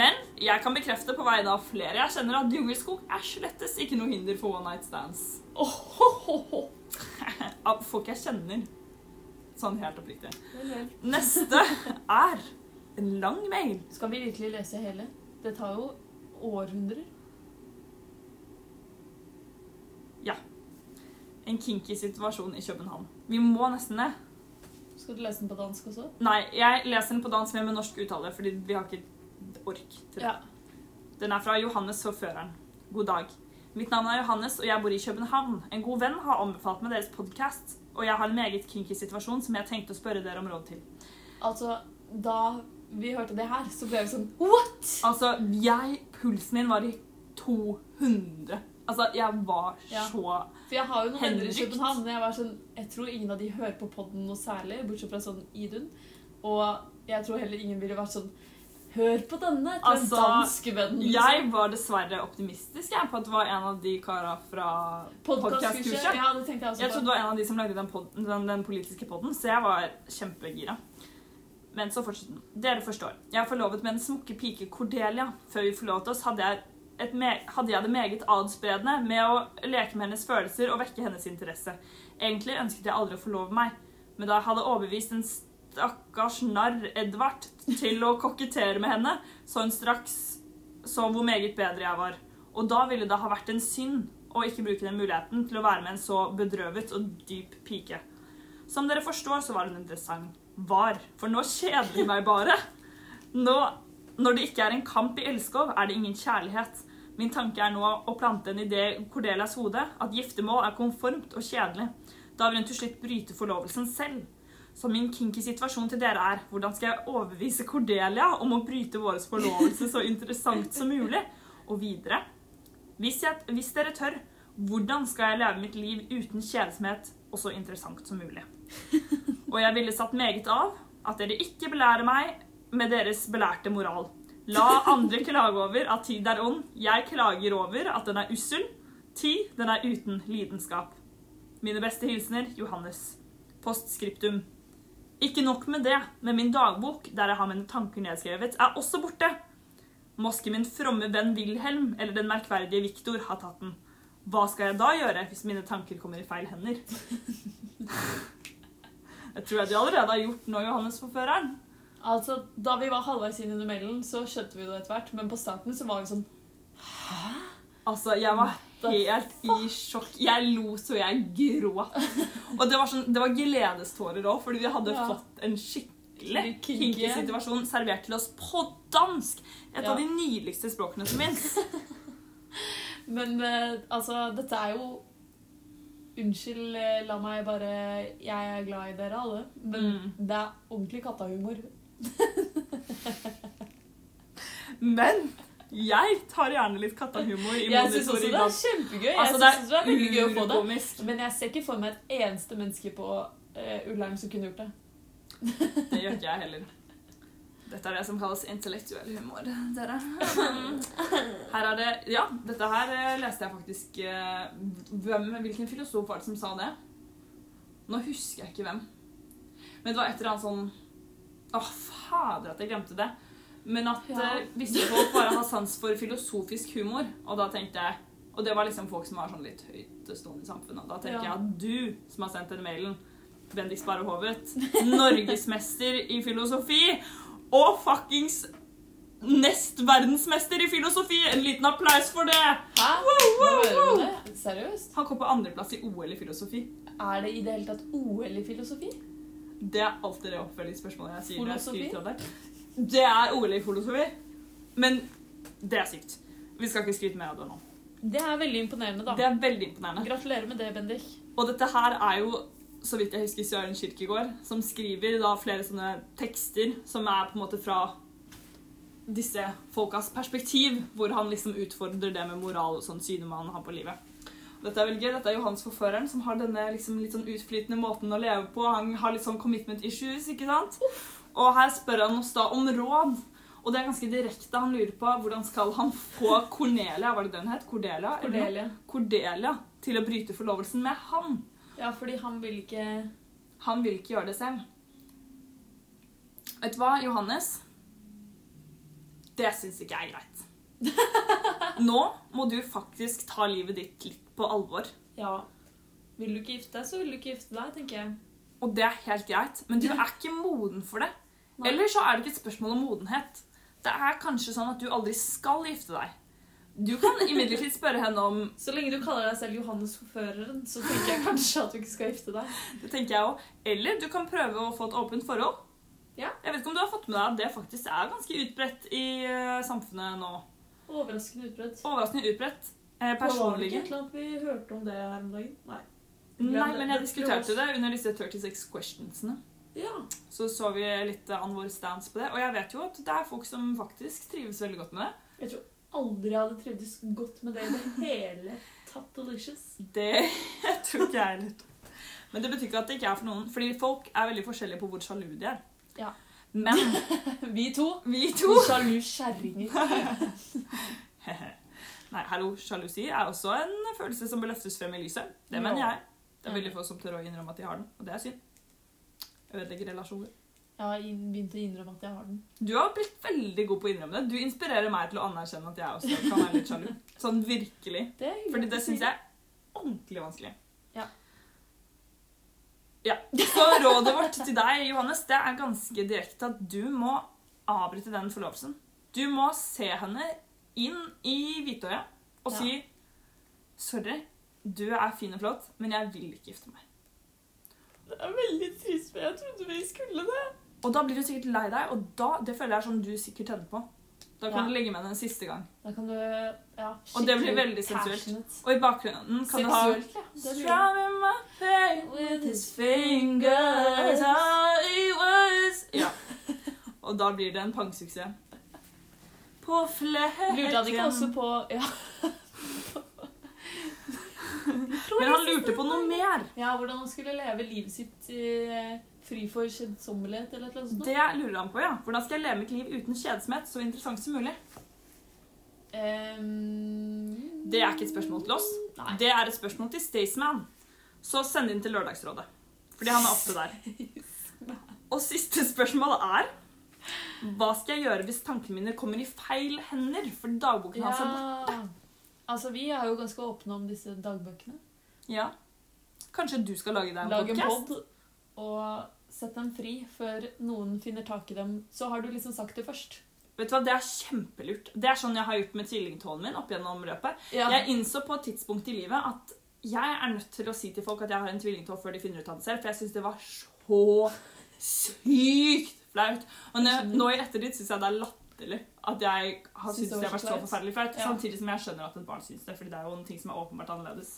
[SPEAKER 2] Men jeg kan bekrefte på vegne av flere jeg kjenner at jungelskog er slettes ikke noe hinder for one night stands.
[SPEAKER 1] Ohohoho.
[SPEAKER 2] Av folk jeg kjenner. Sånn helt oppriktig.
[SPEAKER 1] Vel, vel. <laughs>
[SPEAKER 2] Neste er en lang mail.
[SPEAKER 1] Skal vi virkelig lese hele? Det tar jo århundrer.
[SPEAKER 2] En kinky situasjon i København. Vi må nesten det.
[SPEAKER 1] Skal du lese den på dansk også?
[SPEAKER 2] Nei, jeg leser den på dansk men med norsk uttale, fordi vi har ikke ork til det.
[SPEAKER 1] Ja.
[SPEAKER 2] Den er fra Johannes forføreren. God dag. Mitt navn er Johannes, og jeg bor i København. En god venn har anbefalt meg deres podkast, og jeg har en meget kinky situasjon som jeg tenkte å spørre dere om råd til.
[SPEAKER 1] Altså, da vi hørte det her, så ble vi sånn What?!
[SPEAKER 2] Altså, jeg Pulsen min var i 200. Altså, jeg var
[SPEAKER 1] Ja.
[SPEAKER 2] så
[SPEAKER 1] For jeg har jo noen venner i
[SPEAKER 2] Henrykt.
[SPEAKER 1] København, men jeg var sånn Jeg tror ingen av de hører på podden noe særlig, bortsett fra sånn Idun. Og jeg tror heller ingen ville vært sånn Hør på denne! Til
[SPEAKER 2] Altså,
[SPEAKER 1] en danskevenn.
[SPEAKER 2] Jeg var dessverre optimistisk jeg, på at det var en av de kara fra
[SPEAKER 1] Podkastkurset.
[SPEAKER 2] podkastkurset.
[SPEAKER 1] Ja, det tenkte jeg også
[SPEAKER 2] Jeg trodde det var en av de som lagde den, podden, den, den politiske podden, så jeg var kjempegira. Men så fortsetter den. Dere forstår. Jeg er forlovet med den smukke pike Cordelia. Før vi forlot oss, hadde jeg, et me hadde jeg det meget adspredende med å leke med hennes følelser og vekke hennes interesse. Egentlig ønsket jeg aldri å forlove meg, men da jeg hadde overbevist en stakkars narr Edvard til å kokettere med henne, så hun straks så hvor meget bedre jeg var. Og da ville det ha vært en synd å ikke bruke den muligheten til å være med en så bedrøvet og dyp pike. Som dere forstår, så var hun interessant. Var. For nå kjeder de meg bare. Nå, når det ikke er en kamp i Elskov, er det ingen kjærlighet. Min tanke er nå å plante en idé i Cordelias hode at giftermål er konformt og kjedelig. Da vil hun til slutt bryte forlovelsen selv. Så min kinky situasjon til dere er hvordan skal jeg overbevise Cordelia om å bryte vår forlovelse så interessant som mulig? Og videre hvis, jeg, hvis dere tør, hvordan skal jeg leve mitt liv uten kjedsomhet og så interessant som mulig? Og jeg ville satt meget av at dere ikke belærer meg med deres belærte moral. La andre klage over at tid er ånd. Jeg klager over at den er ussel. Tid, den er uten lidenskap. Mine beste hilsener Johannes. Postscriptum. Ikke nok med det, men min dagbok, der jeg har mine tanker nedskrevet, er også borte. Moske min fromme venn Wilhelm, eller den merkverdige Viktor, har tatt den. Hva skal jeg da gjøre hvis mine tanker kommer i feil <laughs> hender? Jeg tror jeg de allerede har gjort nå, Johannes-forføreren.
[SPEAKER 1] Altså, Da vi var halvveis inn i duellen, så skjønte vi det etter hvert, men på starten så var vi sånn
[SPEAKER 2] Altså, jeg var
[SPEAKER 1] the
[SPEAKER 2] helt i sjokk. Jeg lo så jeg gråt. <laughs> Og det var, sånn, det var gledestårer òg, fordi vi hadde
[SPEAKER 1] Ja.
[SPEAKER 2] fått en skikkelig
[SPEAKER 1] Kinky.
[SPEAKER 2] kinky situasjon servert til oss på dansk. Et
[SPEAKER 1] Ja.
[SPEAKER 2] av de nydeligste språkene <laughs> som fins.
[SPEAKER 1] Men eh, altså, dette er jo Unnskyld, eh, la meg bare Jeg er glad i dere alle, men det er ordentlig kattahumor.
[SPEAKER 2] Men jeg tar gjerne litt kattahumor i
[SPEAKER 1] Jeg syns også det er kjempegøy. Jeg
[SPEAKER 2] Altså,
[SPEAKER 1] synes også det er veldig gøy å få det.
[SPEAKER 2] urkomisk.
[SPEAKER 1] Men jeg ser ikke for meg et eneste menneske på uh, Ullern som kunne gjort det.
[SPEAKER 2] Det gjør ikke jeg heller. Dette er det som kalles intellektuell humor, dere.
[SPEAKER 1] <laughs>
[SPEAKER 2] Her er det Ja, dette her eh, leste jeg faktisk eh, hvem, Hvilken filosof var det som sa det? Nå husker jeg ikke hvem. Men det var et eller annet sånn Å, fader at jeg glemte det. Men at
[SPEAKER 1] Ja.
[SPEAKER 2] eh, visse folk bare har sans for filosofisk humor, og da tenkte jeg Og det var liksom folk som var sånn litt høytstående i samfunnet. Og da tenker
[SPEAKER 1] Ja.
[SPEAKER 2] jeg at du som har sendt denne mailen, Bendik Sparre Hovet, norgesmester i filosofi og fuckings nest verdensmester i filosofi. En liten applaus for det!
[SPEAKER 1] Hæ? Nå
[SPEAKER 2] wow,
[SPEAKER 1] hører
[SPEAKER 2] wow.
[SPEAKER 1] du det? Seriøst?
[SPEAKER 2] Han kom på andreplass i OL i filosofi.
[SPEAKER 1] Er det i det hele tatt OL i filosofi?
[SPEAKER 2] Det er alltid det oppfølgingsspørsmålet jeg sier. når jeg
[SPEAKER 1] Filosofi?
[SPEAKER 2] skryter av deg. Det er OL i filosofi. Men det er sykt. Vi skal ikke skryte mer av det nå.
[SPEAKER 1] Det er veldig imponerende, da.
[SPEAKER 2] Det er veldig imponerende.
[SPEAKER 1] Gratulerer med det, Bendik.
[SPEAKER 2] Og dette her er jo, så vidt jeg husker, Søren Kirkegård, som skriver da flere sånne tekster som er på en måte fra disse folkas perspektiv, hvor han liksom utfordrer det med moral og sånn synet man har på livet. Og Dette er veldig gøy. Dette er Johans forføreren, som har denne liksom litt sånn utflytende måten å leve på. Han har litt sånn commitment issues, ikke sant? Og her spør han oss da om råd. Og det er ganske direkte. Han lurer på hvordan skal han få Cornelia, var det det hun het? Cordelia? eller noe?
[SPEAKER 1] Cordelia.
[SPEAKER 2] Cordelia til å bryte forlovelsen med han.
[SPEAKER 1] Ja, fordi han vil ikke
[SPEAKER 2] Han vil ikke gjøre det selv. Vet du hva, Johannes? Det syns ikke jeg er greit.
[SPEAKER 1] <laughs>
[SPEAKER 2] Nå må du faktisk ta livet ditt litt på alvor.
[SPEAKER 1] Ja. Vil du ikke gifte deg, så vil du ikke gifte deg, tenker jeg.
[SPEAKER 2] Og det er helt greit, men du er ikke moden for det.
[SPEAKER 1] Nei.
[SPEAKER 2] Eller så er det ikke et spørsmål om modenhet. Det er kanskje sånn at du aldri skal gifte deg. Du kan imidlertid spørre henne om
[SPEAKER 1] Så lenge du kaller deg selv Johannes forføreren, så tenker jeg kanskje at du ikke skal gifte deg.
[SPEAKER 2] det tenker jeg også, Eller du kan prøve å få et åpent forhold.
[SPEAKER 1] Ja.
[SPEAKER 2] Jeg vet ikke om du har fått med deg at det faktisk er ganske utbredt i eh, samfunnet nå.
[SPEAKER 1] Overraskende utbredt.
[SPEAKER 2] Overraskende utbredt. Eh,
[SPEAKER 1] Det var vel
[SPEAKER 2] personlige.
[SPEAKER 1] ikke et eller annet vi hørte om det her om dagen? Nei.
[SPEAKER 2] Nei,
[SPEAKER 1] Glem
[SPEAKER 2] men jeg
[SPEAKER 1] det.
[SPEAKER 2] diskuterte det under disse 36 questionsene.
[SPEAKER 1] Ja.
[SPEAKER 2] Så så vi litt eh, an vår stance på det. Og jeg vet jo at det er folk som faktisk trives veldig godt med det.
[SPEAKER 1] Jeg tror aldri jeg hadde trivdes godt med det i det hele tatt. Delicious.
[SPEAKER 2] Det <laughs> tror ikke jeg heller. Men det betyr ikke at det ikke er for noen. Fordi folk er veldig forskjellige på hvor sjalu de er.
[SPEAKER 1] Ja.
[SPEAKER 2] Men
[SPEAKER 1] <laughs>
[SPEAKER 2] <laughs>
[SPEAKER 1] Vi to.
[SPEAKER 2] vi to <laughs>
[SPEAKER 1] To sjalu kjerringer.
[SPEAKER 2] Nei, hallo, sjalusi er også en følelse som bør løftes frem i lyset. Det
[SPEAKER 1] Ja.
[SPEAKER 2] mener jeg. Det er veldig få som tør å innrømme at de har den, og det er synd. Ødelegger relasjoner.
[SPEAKER 1] Jeg har inn- begynt å innrømme at jeg har den.
[SPEAKER 2] Du har blitt veldig god på å innrømme det. Du inspirerer meg til å anerkjenne at jeg også kan være litt sjalu. Sånn virkelig.
[SPEAKER 1] Det er hyggelig
[SPEAKER 2] Fordi det
[SPEAKER 1] å si.
[SPEAKER 2] syns jeg er ordentlig vanskelig.
[SPEAKER 1] Ja.
[SPEAKER 2] Ja. Så rådet vårt til deg, Johannes, det er ganske direkte at du må avbryte den forlovelsen. Du må se henne inn i hvitøyet og
[SPEAKER 1] Ja.
[SPEAKER 2] si Sorry, du er fin og flott, men jeg vil ikke gifte meg.
[SPEAKER 1] Det er veldig trist, for jeg trodde vi skulle det.
[SPEAKER 2] Og da blir du sikkert lei deg, og da, det føler jeg er sånn du sikkert tenner på. Da kan
[SPEAKER 1] Ja.
[SPEAKER 2] du legge med henne en siste gang.
[SPEAKER 1] Da kan du ja,
[SPEAKER 2] Og det blir
[SPEAKER 1] skikkelig
[SPEAKER 2] veldig sensuelt.
[SPEAKER 1] passionate.
[SPEAKER 2] Og i bakgrunnen kan du ha
[SPEAKER 1] Seksuelt, ja. Det blir det.
[SPEAKER 2] Strumming my pain with his fingers how he was Ja. Og da blir det en pangsuksess. På flekken
[SPEAKER 1] Lurte han ikke også på Ja. <laughs>
[SPEAKER 2] Men han lurte på noe mer.
[SPEAKER 1] Ja, hvordan han skulle leve livet sitt eh, fri for kjedsommelighet eller noe sånt.
[SPEAKER 2] Det lurer han på, ja. Hvordan skal jeg leve mitt liv uten kjedsomhet så interessant som mulig?
[SPEAKER 1] Ehm,
[SPEAKER 2] Det er ikke et spørsmål til oss.
[SPEAKER 1] Nei.
[SPEAKER 2] Det er et spørsmål til Staysman. Så send inn til Lørdagsrådet. Fordi han er ofte
[SPEAKER 1] <laughs>
[SPEAKER 2] der. Og siste spørsmål er Hva skal jeg gjøre hvis tankene mine kommer i feil hender? For dagboken hans er borte.
[SPEAKER 1] Ja. Altså, vi er jo ganske åpne om disse dagbøkene.
[SPEAKER 2] Ja. Kanskje du skal lage deg en
[SPEAKER 1] Lag en
[SPEAKER 2] podcast?
[SPEAKER 1] pod og sett dem fri før noen finner tak i dem. Så har du liksom sagt det først.
[SPEAKER 2] Vet du hva, Det er kjempelurt. Det er sånn jeg har gjort med tvillingtåen min. opp gjennom røpet. Jeg innså på et tidspunkt i livet at jeg er nødt til å si til folk at jeg har en tvillingtå før de finner ut av det selv, for jeg syns det var så sykt flaut. Og nå,
[SPEAKER 1] Jeg skjønner.
[SPEAKER 2] nå i ettertid syns jeg det er latterlig at jeg har
[SPEAKER 1] Syns det
[SPEAKER 2] syntes det
[SPEAKER 1] var
[SPEAKER 2] har vært
[SPEAKER 1] så
[SPEAKER 2] så
[SPEAKER 1] flaut.
[SPEAKER 2] forferdelig flaut.
[SPEAKER 1] Ja.
[SPEAKER 2] Samtidig som jeg skjønner at et barn syns det, fordi det er jo en ting som er åpenbart annerledes.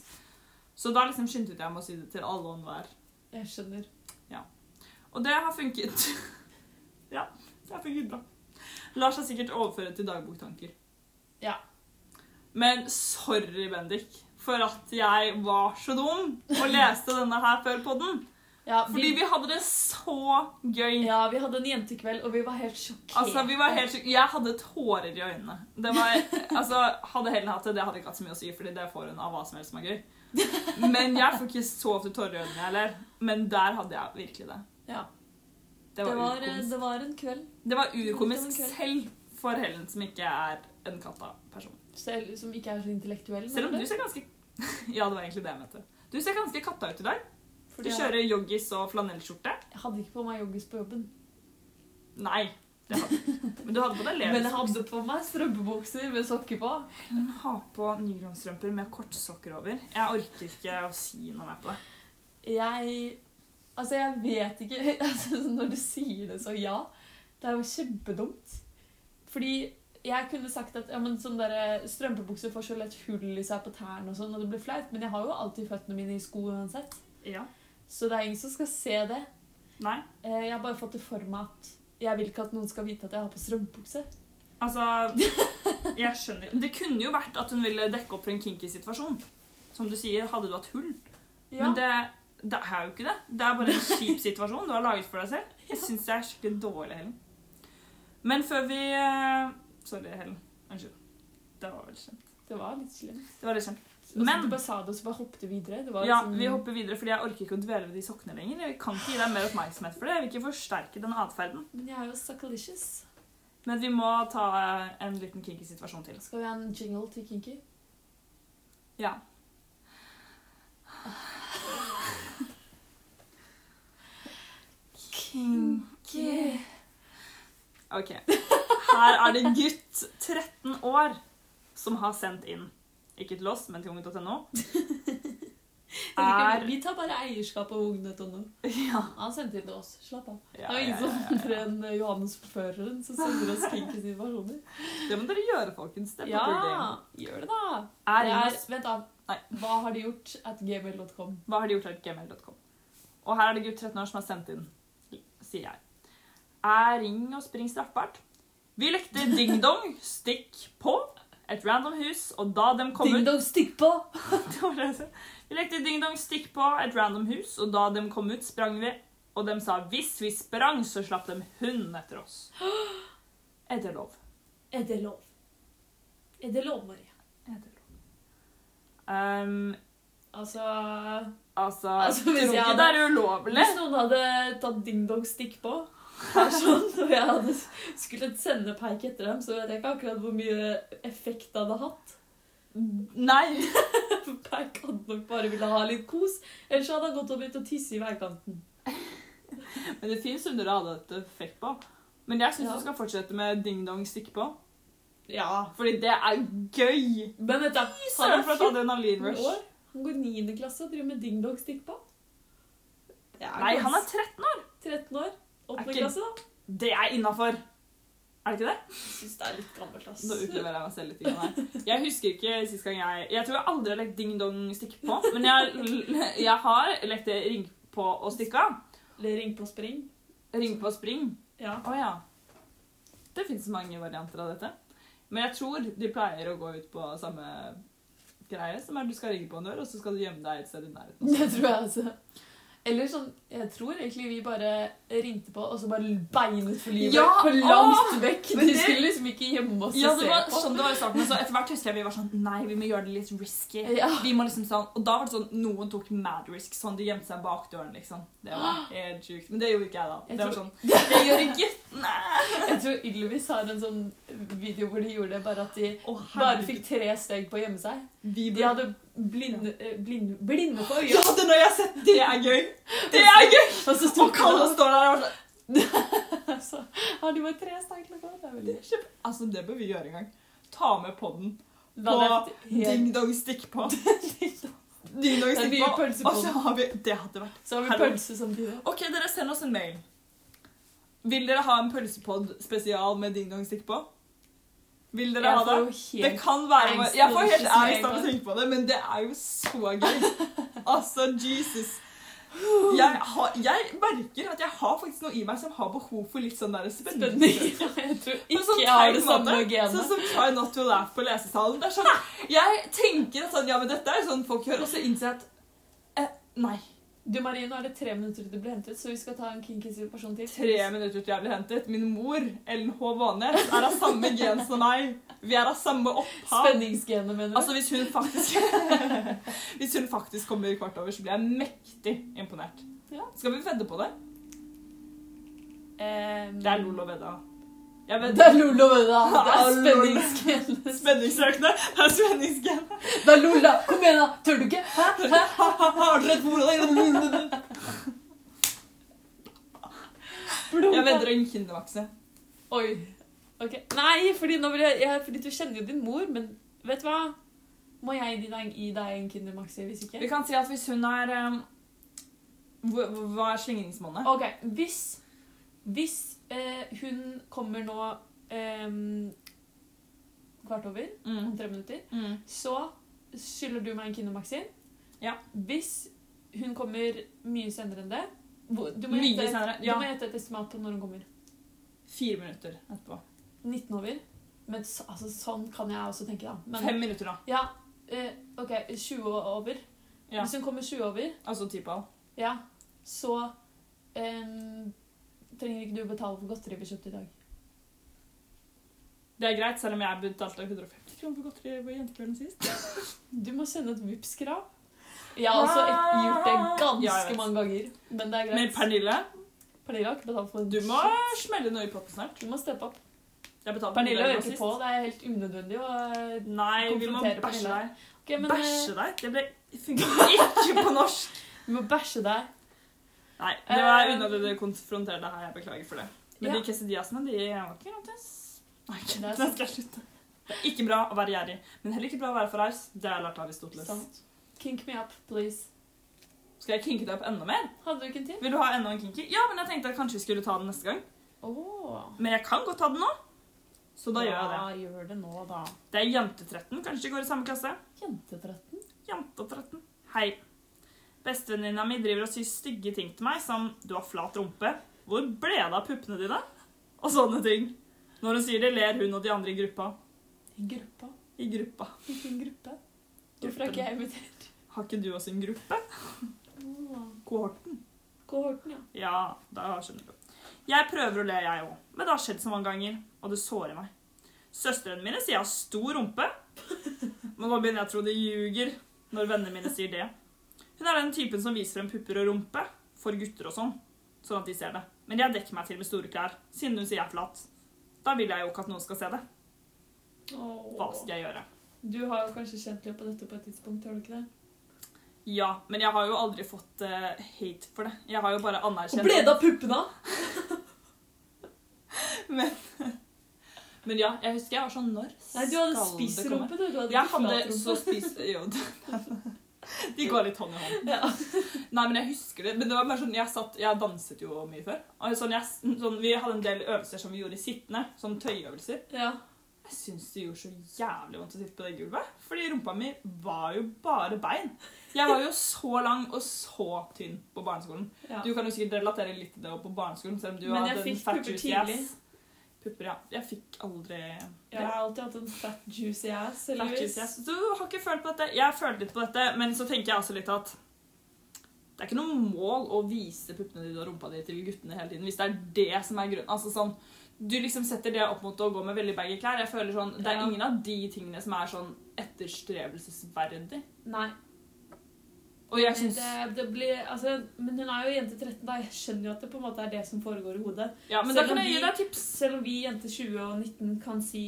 [SPEAKER 2] Så da liksom skyndte jeg meg å si det til alle og enhver.
[SPEAKER 1] Jeg skjønner.
[SPEAKER 2] Og det har funket. <laughs> ja, det har funket bra. Lar seg sikkert overføre til dagboktanker.
[SPEAKER 1] Ja.
[SPEAKER 2] Men sorry, Bendik, for at jeg var så dum og leste denne her før podden.
[SPEAKER 1] Ja,
[SPEAKER 2] Fordi vi hadde det så gøy.
[SPEAKER 1] ja, vi hadde en jentekveld, og vi var helt sjokkert.
[SPEAKER 2] Altså, vi var helt syk- Jeg hadde tårer i øynene. Det var, altså, hadde Helen hatt det, det hadde ikke hatt så mye å si, fordi det får hun av hva som helst som er gøy. Men jeg får ikke så ofte tårer i øynene, jeg heller. Men der hadde jeg virkelig det.
[SPEAKER 1] Ja.
[SPEAKER 2] Det var, urkomisk.
[SPEAKER 1] det var eh, en kveld
[SPEAKER 2] Det var
[SPEAKER 1] Det
[SPEAKER 2] urkomisk
[SPEAKER 1] var en kveld.
[SPEAKER 2] selv for Helen, som ikke er en katta-person.
[SPEAKER 1] selv, som ikke er så intellektuell.
[SPEAKER 2] Selv om
[SPEAKER 1] men-
[SPEAKER 2] du ser ganske <laughs> Ja, det var egentlig det jeg mente. Du ser ganske katta ut i dag. Du
[SPEAKER 1] Fordi jeg,
[SPEAKER 2] kjører joggis og flanellskjorte.
[SPEAKER 1] jeg hadde ikke på meg joggis på jobben.
[SPEAKER 2] Nei. Det hadde. Men du hadde på deg
[SPEAKER 1] <laughs> Men jeg
[SPEAKER 2] levis.
[SPEAKER 1] hadde på meg strømpebukser med sokker på.
[SPEAKER 2] Helen har på nylonstrømper med kortsokker over. Jeg orker ikke å si noe mer på det.
[SPEAKER 1] Jeg Altså, jeg vet ikke <laughs> altså, Når du sier det, så ja. Det er jo kjempedumt. Fordi jeg kunne sagt at ja, men sånne der eh, strømpebukser får så lett hull i seg på tærne, og sånn, og det blir flaut, men jeg har jo alltid føttene mine i sko uansett.
[SPEAKER 2] Ja.
[SPEAKER 1] Så det er ingen som skal se det.
[SPEAKER 2] Nei.
[SPEAKER 1] Eh, Jeg har bare fått det for meg at jeg vil ikke at noen skal vite at jeg har på strømpebukse. <laughs>
[SPEAKER 2] Altså Jeg skjønner. Det kunne jo vært at hun ville dekke opp for en kinky situasjon. Som du sier, hadde du hatt hull Men det, det er jo ikke det. Det er bare en kjip situasjon du har laget for deg selv. Jeg syns det er skikkelig dårlig, Helen. Men før vi eh, Sorry, Helen. Unnskyld. Det var veldig slemt.
[SPEAKER 1] Det var litt slemt.
[SPEAKER 2] Det var litt slemt.
[SPEAKER 1] Og så
[SPEAKER 2] Men-
[SPEAKER 1] du bare sa det, og så bare hoppet du videre. Det var
[SPEAKER 2] Ja,
[SPEAKER 1] liksom-
[SPEAKER 2] vi hopper videre, fordi jeg orker ikke å dvele ved de sokkene lenger. Jeg kan ikke gi deg mer oppmerksomhet for det. Jeg vil ikke forsterke den atferden.
[SPEAKER 1] Men jeg er jo suckalicious.
[SPEAKER 2] Men vi må ta eh, en liten kinky situasjon til.
[SPEAKER 1] Skal vi ha en jingle til Kinky?
[SPEAKER 2] Ja. Kinky OK. Her er det gutt 13 år som har sendt inn. Ikke til oss, men til ung.no. Er
[SPEAKER 1] Vi tar bare eierskap av ung.no.
[SPEAKER 2] Ja.
[SPEAKER 1] Han sendte inn til oss. Slapp av. det
[SPEAKER 2] ja,
[SPEAKER 1] er jo
[SPEAKER 2] ja,
[SPEAKER 1] ingen
[SPEAKER 2] ja,
[SPEAKER 1] som
[SPEAKER 2] ja.
[SPEAKER 1] andre enn eh, Johannes forføreren som sender oss kinky situasjoner.
[SPEAKER 2] Det må dere gjøre, folkens. Det er
[SPEAKER 1] Ja,
[SPEAKER 2] på puling.
[SPEAKER 1] gjør det, da.
[SPEAKER 2] Er
[SPEAKER 1] Det
[SPEAKER 2] Jonas-
[SPEAKER 1] er, vent, da.
[SPEAKER 2] Nei.
[SPEAKER 1] Hva har de gjort at gmail.com?
[SPEAKER 2] Hva har de gjort av gmail.com? Og her er det gutt 13 år som har sendt inn, sier jeg. Er ring og spring straffbart? Vi lekte ding-dong, stikk på, et random hus, og da dem kom <laughs> ut
[SPEAKER 1] dong, stikk på!
[SPEAKER 2] Det var det jeg sa. Vi lekte ding-dong, stikk på, et random hus, og da dem kom ut, sprang vi. Og dem sa hvis vi sprang, så slapp dem hunden etter oss. Er det lov?
[SPEAKER 1] Er det lov? Er det lov, Maria?
[SPEAKER 2] Er det lov? Um,
[SPEAKER 1] Altså,
[SPEAKER 2] altså,
[SPEAKER 1] Altså,
[SPEAKER 2] Tror
[SPEAKER 1] hvis jeg
[SPEAKER 2] ikke
[SPEAKER 1] hadde-
[SPEAKER 2] det er ulovlig.
[SPEAKER 1] Hvis noen hadde tatt ding-dong-stikk på, her sånn, og jeg hadde skulle sende peik etter dem, så vet jeg ikke akkurat hvor mye effekt det hadde hatt.
[SPEAKER 2] Nei.
[SPEAKER 1] For Peik hadde nok bare ville ha litt kos, ellers så hadde han gått og begynt å tisse i veikanten.
[SPEAKER 2] Men det fins hunder å ha dette fekk på. Men jeg syns
[SPEAKER 1] Ja.
[SPEAKER 2] du skal fortsette med ding-dong stikke på.
[SPEAKER 1] Ja.
[SPEAKER 2] Fordi det er gøy!
[SPEAKER 1] Men vet du, han
[SPEAKER 2] Søren
[SPEAKER 1] er
[SPEAKER 2] for at
[SPEAKER 1] 14
[SPEAKER 2] adrenalin rush.
[SPEAKER 1] år. Han går 9. klasse og driver med ding-dong-stikk på. Det er
[SPEAKER 2] Nei, han
[SPEAKER 1] ganske-
[SPEAKER 2] er 13 år!
[SPEAKER 1] 13 år. 8.
[SPEAKER 2] Er ikke-
[SPEAKER 1] klasse, da.
[SPEAKER 2] Det er innafor. Er det ikke det?
[SPEAKER 1] Jeg syns det er litt gammelt, ass.
[SPEAKER 2] Nå utleverer jeg meg selv litt. grann her. Jeg husker ikke sist gang jeg Jeg tror jeg aldri har lekt ding-dong stikke på. Men jeg, jeg har lekt det ring på og stikke av.
[SPEAKER 1] Eller ring på spring.
[SPEAKER 2] Ring på og spring.
[SPEAKER 1] Ja.
[SPEAKER 2] Å ja. Det fins mange varianter av dette. Men jeg tror de pleier å gå ut på samme greie, som er du skal ringe på en dør, og så skal du gjemme deg et sted i nærheten.
[SPEAKER 1] Det tror jeg altså. Eller sånn Jeg tror egentlig vi bare ringte på, og så bare beinet for livet.
[SPEAKER 2] Ja,
[SPEAKER 1] for langt
[SPEAKER 2] åh!
[SPEAKER 1] vekk.
[SPEAKER 2] Men
[SPEAKER 1] De
[SPEAKER 2] det-
[SPEAKER 1] skulle liksom ikke gjemme oss
[SPEAKER 2] Ja,
[SPEAKER 1] og se
[SPEAKER 2] det var
[SPEAKER 1] på.
[SPEAKER 2] sånn det var i starten, men så etter hvert husker jeg vi var sånn Nei, vi må gjøre det litt risky.
[SPEAKER 1] Ja.
[SPEAKER 2] Vi må liksom sånn, Og da var det sånn Noen tok mad risk, sånn de gjemte seg bak døren, liksom. Det <gasps> var helt sjukt. Men det gjorde ikke jeg da.
[SPEAKER 1] Jeg
[SPEAKER 2] det var
[SPEAKER 1] tror-
[SPEAKER 2] sånn Det gjør ikke Nei.
[SPEAKER 1] Jeg tror Ylvis har en sånn video hvor de gjorde det bare at de
[SPEAKER 2] Å,
[SPEAKER 1] bare
[SPEAKER 2] herregud.
[SPEAKER 1] fikk tre steg på å gjemme seg. De
[SPEAKER 2] Vi ble
[SPEAKER 1] hadde blinde, eh, blinde, blinde på
[SPEAKER 2] Ja,
[SPEAKER 1] øya.
[SPEAKER 2] det når jeg har sett Det er gøy! Det er gøy!
[SPEAKER 1] Og så
[SPEAKER 2] Og
[SPEAKER 1] tok de
[SPEAKER 2] Kalle står der og er sånn
[SPEAKER 1] av så har de bare tre steg til å gå. Det er
[SPEAKER 2] det
[SPEAKER 1] veldig
[SPEAKER 2] er kjempe... Altså, det bør vi gjøre en gang. Ta med podden.
[SPEAKER 1] La det- helt-
[SPEAKER 2] Ding-dong, stikk på.
[SPEAKER 1] Det
[SPEAKER 2] Ding-dong,
[SPEAKER 1] er
[SPEAKER 2] stikk
[SPEAKER 1] mye
[SPEAKER 2] på.
[SPEAKER 1] pølse på
[SPEAKER 2] Og så
[SPEAKER 1] den.
[SPEAKER 2] har vi Det hadde vært
[SPEAKER 1] Så har vi
[SPEAKER 2] Hallo.
[SPEAKER 1] pølse samtidig.
[SPEAKER 2] Ok, dere send oss en mail. Vil dere ha en pølsepodd spesial med ding-dong-stikk på? Vil dere
[SPEAKER 1] Jeg
[SPEAKER 2] ha det?
[SPEAKER 1] får jo
[SPEAKER 2] Det
[SPEAKER 1] helt
[SPEAKER 2] kan være
[SPEAKER 1] angst
[SPEAKER 2] Jeg
[SPEAKER 1] når
[SPEAKER 2] får
[SPEAKER 1] det
[SPEAKER 2] helt
[SPEAKER 1] ikke skjer
[SPEAKER 2] angst av å
[SPEAKER 1] engang.
[SPEAKER 2] tenke på det, men det er jo så
[SPEAKER 1] <laughs>
[SPEAKER 2] gøy. Altså, Jesus. Jeg, har, jeg merker at jeg har faktisk noe i meg som har behov for litt sånn der
[SPEAKER 1] <laughs> Spenning.
[SPEAKER 2] spenning.
[SPEAKER 1] Jeg tror
[SPEAKER 2] På en
[SPEAKER 1] ikke
[SPEAKER 2] sånn
[SPEAKER 1] jeg har
[SPEAKER 2] teit
[SPEAKER 1] det samme
[SPEAKER 2] måte, Sånn
[SPEAKER 1] genet.
[SPEAKER 2] som Try Not To Laugh på lesesalen. Det er sånn, jeg tenker at sånn, ja, men dette er jo sånn folk gjør, og så innser jeg at eh, Nei.
[SPEAKER 1] Du Marie, nå er det tre minutter til du blir hentet, så vi skal ta en kinky sånn situasjon til.
[SPEAKER 2] tre minutter til jeg blir hentet. Min mor, Ellen H. Vanes, er av samme gen som meg. Vi er av samme opphav.
[SPEAKER 1] Spenningsgenet, mener du?
[SPEAKER 2] Altså, hvis hun faktisk <laughs> Hvis hun faktisk kommer kvart over, så blir jeg mektig imponert.
[SPEAKER 1] Ja.
[SPEAKER 2] Skal vi vedde på det?
[SPEAKER 1] Ehm,
[SPEAKER 2] Det er lol å vedde. Jeg
[SPEAKER 1] Det
[SPEAKER 2] vedder.
[SPEAKER 1] er lol <laughs> og vedda. Det er
[SPEAKER 2] Ja, lol.
[SPEAKER 1] <laughs> spenningsgenet.
[SPEAKER 2] <laughs> Spenningsøkende. Det er spenningsgen.
[SPEAKER 1] Det er lol, da. Kom igjen, da. Tør du ikke? Hæ? Hæ?
[SPEAKER 2] <laughs> Har dere et forhold?
[SPEAKER 1] Blunka.
[SPEAKER 2] Jeg vedder en kindervakse.
[SPEAKER 1] Oi. Ok. Nei, fordi, nå vil jeg, jeg, fordi du kjenner jo din mor, men vet du hva? Må jeg gi deg, gi deg en Kinder Maxi hvis
[SPEAKER 2] Vi
[SPEAKER 1] ikke?
[SPEAKER 2] kan si at hvis hun er um, hvor- Hva er slingringsmonnet?
[SPEAKER 1] Ok, hvis, hvis eh, hun kommer nå ehm, kvart over, om
[SPEAKER 2] Mm.
[SPEAKER 1] tre minutter,
[SPEAKER 2] Mm.
[SPEAKER 1] Så skylder du meg en Kinder Maxi.
[SPEAKER 2] Ja.
[SPEAKER 1] Hvis hun kommer mye senere enn det hvor- Du må
[SPEAKER 2] Mye
[SPEAKER 1] gjette
[SPEAKER 2] senere,
[SPEAKER 1] et-
[SPEAKER 2] ja.
[SPEAKER 1] du må gjette et estimat på når hun kommer.
[SPEAKER 2] Fire minutter etterpå.
[SPEAKER 1] 19 over. Men så, altså, sånn kan jeg også tenke, da. Men,
[SPEAKER 2] Fem minutter, da.
[SPEAKER 1] Ja, eh, OK, 20 over.
[SPEAKER 2] Ja.
[SPEAKER 1] Hvis hun kommer 20 over,
[SPEAKER 2] Altså ti på all.
[SPEAKER 1] ja, så em, trenger ikke du betale for godteri vi kjøpte i dag.
[SPEAKER 2] Det er greit, selv om jeg betalte 150 kroner for godteri på jentekvelden sist.
[SPEAKER 1] Du må sende et Vipps-krav. Jeg har også et- gjort det ganske
[SPEAKER 2] Ah! Ja, jeg vet.
[SPEAKER 1] mange ganger, men det er
[SPEAKER 2] Men
[SPEAKER 1] greit.
[SPEAKER 2] Pernille,
[SPEAKER 1] Pernille har ikke betalt for en
[SPEAKER 2] du må
[SPEAKER 1] shit.
[SPEAKER 2] smelle noe i potten snart.
[SPEAKER 1] Du må steppe opp.
[SPEAKER 2] Jeg betalte
[SPEAKER 1] Pernille
[SPEAKER 2] Pernille
[SPEAKER 1] hører ikke
[SPEAKER 2] sist.
[SPEAKER 1] på. Det er helt unødvendig å
[SPEAKER 2] Nei, vi må
[SPEAKER 1] Konfrontere
[SPEAKER 2] bæsje
[SPEAKER 1] Pernille.
[SPEAKER 2] deg.
[SPEAKER 1] Ok, men, eh,
[SPEAKER 2] Bæsje deg?
[SPEAKER 1] <laughs>
[SPEAKER 2] Det ble funker ikke på norsk.
[SPEAKER 1] Du eh, må bæsje deg.
[SPEAKER 2] Nei, det var
[SPEAKER 1] Eh,
[SPEAKER 2] unødvendig å konfrontere deg her. Jeg beklager for det. Men
[SPEAKER 1] ja.
[SPEAKER 2] de quesadiasene, de var ikke gratis. Nei,
[SPEAKER 1] Det er
[SPEAKER 2] nå
[SPEAKER 1] sant.
[SPEAKER 2] skal jeg slutte. Det er ikke bra å være gjerrig, men heller ikke bra å være forreist. Det har jeg lært av Aristoteles.
[SPEAKER 1] Sant. Sånn. Kink me up, please.
[SPEAKER 2] Skal jeg kinke deg opp enda mer?
[SPEAKER 1] Hadde du ikke en til?
[SPEAKER 2] Vil du ha enda en kinky? Ja, men jeg tenkte jeg kanskje vi skulle ta den neste gang.
[SPEAKER 1] Åh.
[SPEAKER 2] Men jeg kan godt ta den nå. Så da gjør jeg det.
[SPEAKER 1] Ja, gjør det nå, da.
[SPEAKER 2] Det er jentetretten. Kanskje de går i samme klasse.
[SPEAKER 1] Jentetretten?
[SPEAKER 2] Jentetretten. Hei. Bestevenninna mi driver og syr stygge ting til meg, som 'du har flat rumpe', 'hvor ble det av puppene dine?' og sånne ting. Når hun sier det, ler hun og de andre i gruppa.
[SPEAKER 1] I gruppa?
[SPEAKER 2] I gruppa.
[SPEAKER 1] Hvilken gruppe? Hvorfor er ikke jeg invitert?
[SPEAKER 2] Har ikke du også en gruppe?
[SPEAKER 1] Åh.
[SPEAKER 2] Kohorten.
[SPEAKER 1] Kohorten, ja.
[SPEAKER 2] Ja, da skjønner du. Jeg prøver å le, jeg òg, men det har skjedd så mange ganger, og det sårer meg. Søstrene mine sier jeg har stor rumpe, men nå begynner jeg å tro de ljuger når vennene mine sier det. Hun er den typen som viser frem pupper og rumpe for gutter og sånn, sånn at de ser det. Men jeg dekker meg til med store klær, siden hun sier jeg er flat. Da vil jeg jo ikke at noen skal se det.
[SPEAKER 1] Åh.
[SPEAKER 2] Hva skal jeg gjøre?
[SPEAKER 1] Du har jo kanskje kjent litt på dette på et tidspunkt, har du ikke det?
[SPEAKER 2] Ja, men jeg har jo aldri fått eh, hate for det. Jeg har jo bare anerkjent
[SPEAKER 1] det av puppene?
[SPEAKER 2] Men, men ja, jeg husker jeg var sånn Når
[SPEAKER 1] Nei, du hadde
[SPEAKER 2] skal det komme?
[SPEAKER 1] spissrumpe, du. du hadde
[SPEAKER 2] Jeg
[SPEAKER 1] ikke
[SPEAKER 2] hadde
[SPEAKER 1] flatrumpe.
[SPEAKER 2] så
[SPEAKER 1] <laughs>
[SPEAKER 2] spist Jo, <laughs> de går litt hånd i hånd.
[SPEAKER 1] Ja.
[SPEAKER 2] Nei, men jeg husker det. Men det var bare sånn, jeg, satt, jeg danset jo mye før. Og sånn, jeg, sånn, vi hadde en del øvelser som vi gjorde sittende, sånn tøyøvelser.
[SPEAKER 1] ja.
[SPEAKER 2] Jeg syns det gjorde så jævlig vondt å sitte på det gulvet. Fordi rumpa mi var jo bare bein. Jeg var jo så lang og så tynn på barneskolen.
[SPEAKER 1] ja.
[SPEAKER 2] Du kan jo sikkert relatere litt til det også på barneskolen, selv om du
[SPEAKER 1] Men jeg
[SPEAKER 2] hadde
[SPEAKER 1] fikk pupper
[SPEAKER 2] juicy ass.
[SPEAKER 1] tidlig.
[SPEAKER 2] Pupper, ja. Jeg fikk aldri
[SPEAKER 1] Jeg har alltid hatt en fat juicy ass. heldigvis.
[SPEAKER 2] Faktisk, yes. Du har ikke følt på dette. Jeg har følt litt på dette, men så tenker jeg også litt at det er ikke noe mål å vise puppene dine og rumpa di til guttene hele tiden, hvis det er det som er grunnen. Altså sånn, du liksom setter det opp mot å gå med veldig baggy klær. Jeg føler sånn, Det er
[SPEAKER 1] Ja.
[SPEAKER 2] ingen av de tingene som er sånn etterstrevelsesverdig.
[SPEAKER 1] Nei.
[SPEAKER 2] Og jeg syns
[SPEAKER 1] det, det blir, altså, men hun er jo jente 13, da. Jeg skjønner jo at det på en måte er det som foregår i hodet.
[SPEAKER 2] Ja, men da
[SPEAKER 1] Selv
[SPEAKER 2] kan
[SPEAKER 1] om
[SPEAKER 2] jeg gi
[SPEAKER 1] de-
[SPEAKER 2] deg tips.
[SPEAKER 1] Selv om vi jenter 20 og 19 kan si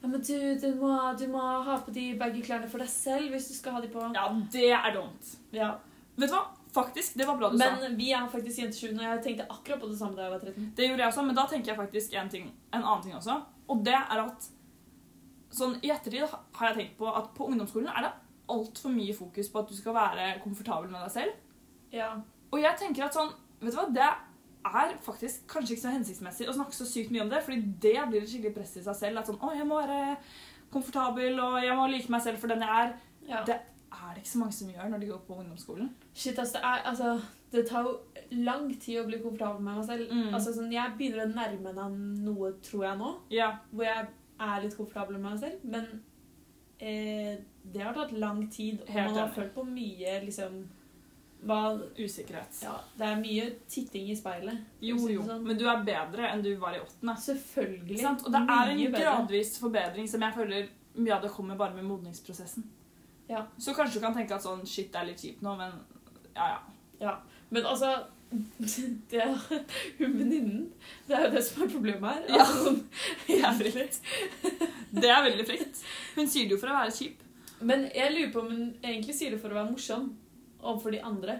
[SPEAKER 1] ja, men du, du, må, du må ha på de baggy klærne for deg selv hvis du skal ha de på.
[SPEAKER 2] Ja, det er dumt.
[SPEAKER 1] Ja.
[SPEAKER 2] Vet du hva? Faktisk, det var bra du sa.
[SPEAKER 1] Men vi er faktisk jente 20, og jeg tenkte akkurat på det samme da jeg var 13.
[SPEAKER 2] Det gjorde jeg også, men da tenker jeg faktisk en, ting, en annen ting også. Og det er at sånn, I ettertid har jeg tenkt på at på ungdomsskolen er det altfor mye fokus på at du skal være komfortabel med deg selv.
[SPEAKER 1] Ja.
[SPEAKER 2] Og jeg tenker at sånn Vet du hva, det er faktisk kanskje ikke så hensiktsmessig å snakke så sykt mye om det, fordi det blir et skikkelig press i seg selv. At sånn Å, jeg må være komfortabel, og jeg må like meg selv for den jeg er.
[SPEAKER 1] ja.
[SPEAKER 2] Det er det ikke så mange som gjør når de går på ungdomsskolen.
[SPEAKER 1] Shit, altså det, er, altså, det tar jo lang tid å bli komfortabel med meg selv.
[SPEAKER 2] Mm.
[SPEAKER 1] Altså, sånn, jeg begynner å nærme meg noe, tror jeg, nå.
[SPEAKER 2] Ja,
[SPEAKER 1] Hvor jeg er litt komfortabel med meg selv. Men eh, det har tatt lang tid, og
[SPEAKER 2] Helt
[SPEAKER 1] man har
[SPEAKER 2] enig.
[SPEAKER 1] følt på mye liksom hva,
[SPEAKER 2] usikkerhet.
[SPEAKER 1] ja, Det er mye titting i speilet.
[SPEAKER 2] Jo,
[SPEAKER 1] for å si det
[SPEAKER 2] jo.
[SPEAKER 1] sånn.
[SPEAKER 2] Men du er bedre enn du var i åttende.
[SPEAKER 1] Selvfølgelig.
[SPEAKER 2] Ikke sant? Og det er en
[SPEAKER 1] Mye bedre.
[SPEAKER 2] gradvis forbedring som jeg føler mye av det kommer bare med modningsprosessen.
[SPEAKER 1] Ja.
[SPEAKER 2] Så kanskje du kan tenke at sånn shit det er litt kjipt nå, men ja ja.
[SPEAKER 1] Men altså <laughs> det, Hun venninnen Det er jo det som er problemet her.
[SPEAKER 2] Ja.
[SPEAKER 1] Altså,
[SPEAKER 2] <laughs>
[SPEAKER 1] sånn,
[SPEAKER 2] Jævlig. Det er veldig frekt. Hun sier det jo for å være kjip.
[SPEAKER 1] Men jeg lurer på om hun egentlig sier det for å være morsom overfor de andre.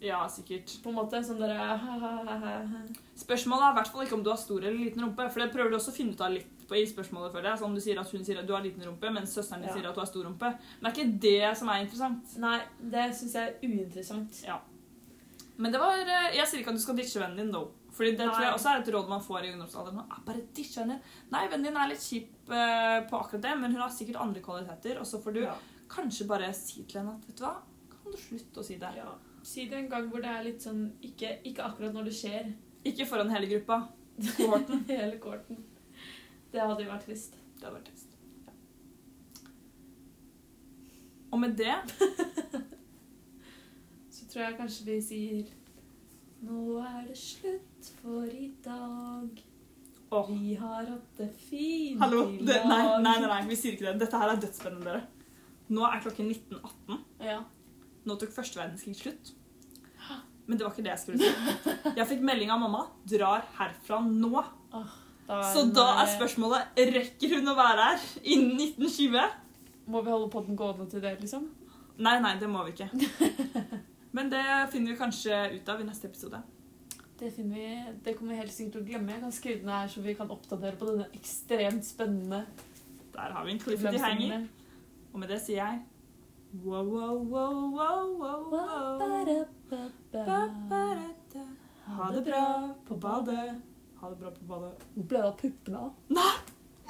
[SPEAKER 2] Ja, sikkert.
[SPEAKER 1] På en måte sånn der, ha-ha-ha-ha.
[SPEAKER 2] Spørsmålet er i hvert fall ikke om du har stor eller liten rumpe, for det prøver du også å finne ut av litt på i spørsmålet før det. Sånn du sier at hun sier at du har liten rumpe, mens søsteren din
[SPEAKER 1] Ja.
[SPEAKER 2] sier at du har stor rumpe. Men det er ikke det som er interessant.
[SPEAKER 1] Nei, det syns jeg er uinteressant.
[SPEAKER 2] Men det var eh, Jeg sier ikke at du skal ditche vennen din, though. Fordi det tror jeg
[SPEAKER 1] Nei.
[SPEAKER 2] også er et råd man får i ungdomsalderen. Man er bare ditch vennen din. Nei, vennen din er litt kjip eh, på akkurat det, men hun har sikkert andre kvaliteter. Og så får du
[SPEAKER 1] Ja.
[SPEAKER 2] kanskje bare si til henne at vet du hva, kan du slutte å si det?
[SPEAKER 1] Ja. Si det en gang hvor det er litt sånn Ikke, ikke akkurat når det skjer. <laughs>
[SPEAKER 2] Ikke foran hele gruppa. <laughs> Kohorten.
[SPEAKER 1] Hele korten. Det hadde jo vært trist.
[SPEAKER 2] Det hadde vært trist. Og med det
[SPEAKER 1] Så tror jeg kanskje vi sier Nå er det slutt for i dag.
[SPEAKER 2] Åh.
[SPEAKER 1] Vi har hatt det fint
[SPEAKER 2] Hallo.
[SPEAKER 1] i
[SPEAKER 2] Det,
[SPEAKER 1] lag.
[SPEAKER 2] nei, nei, nei, nei, vi sier ikke det. Dette her er dødsspennende, dere. Nå er klokken 19.18.
[SPEAKER 1] Ja.
[SPEAKER 2] Nå tok første verdenskrig slutt. Men det var ikke det jeg skulle si. Jeg fikk melding av mamma. Drar herfra nå.
[SPEAKER 1] Åh, da
[SPEAKER 2] Så
[SPEAKER 1] en,
[SPEAKER 2] da er
[SPEAKER 1] eh,
[SPEAKER 2] spørsmålet rekker hun å være her innen 1920?
[SPEAKER 1] Må vi holde podden gående til det, liksom?
[SPEAKER 2] Nei, nei, det må vi <laughs> ikke. Men det finner vi kanskje ut av i neste episode.
[SPEAKER 1] Det finner vi, det kommer vi helt sikkert til å glemme. Jeg kan skrive den her, så vi kan oppdatere på denne ekstremt spennende
[SPEAKER 2] Der har vi en cliffy hanger.
[SPEAKER 1] problemstillingen.
[SPEAKER 2] Og med det sier jeg wow, wow, wow, wow, wow, wow. Ba, ba,
[SPEAKER 1] Ha
[SPEAKER 2] da, da. Ha det bra på badet. Ha det bra på badet.
[SPEAKER 1] Hvor ble det av puppene av?
[SPEAKER 2] Nei!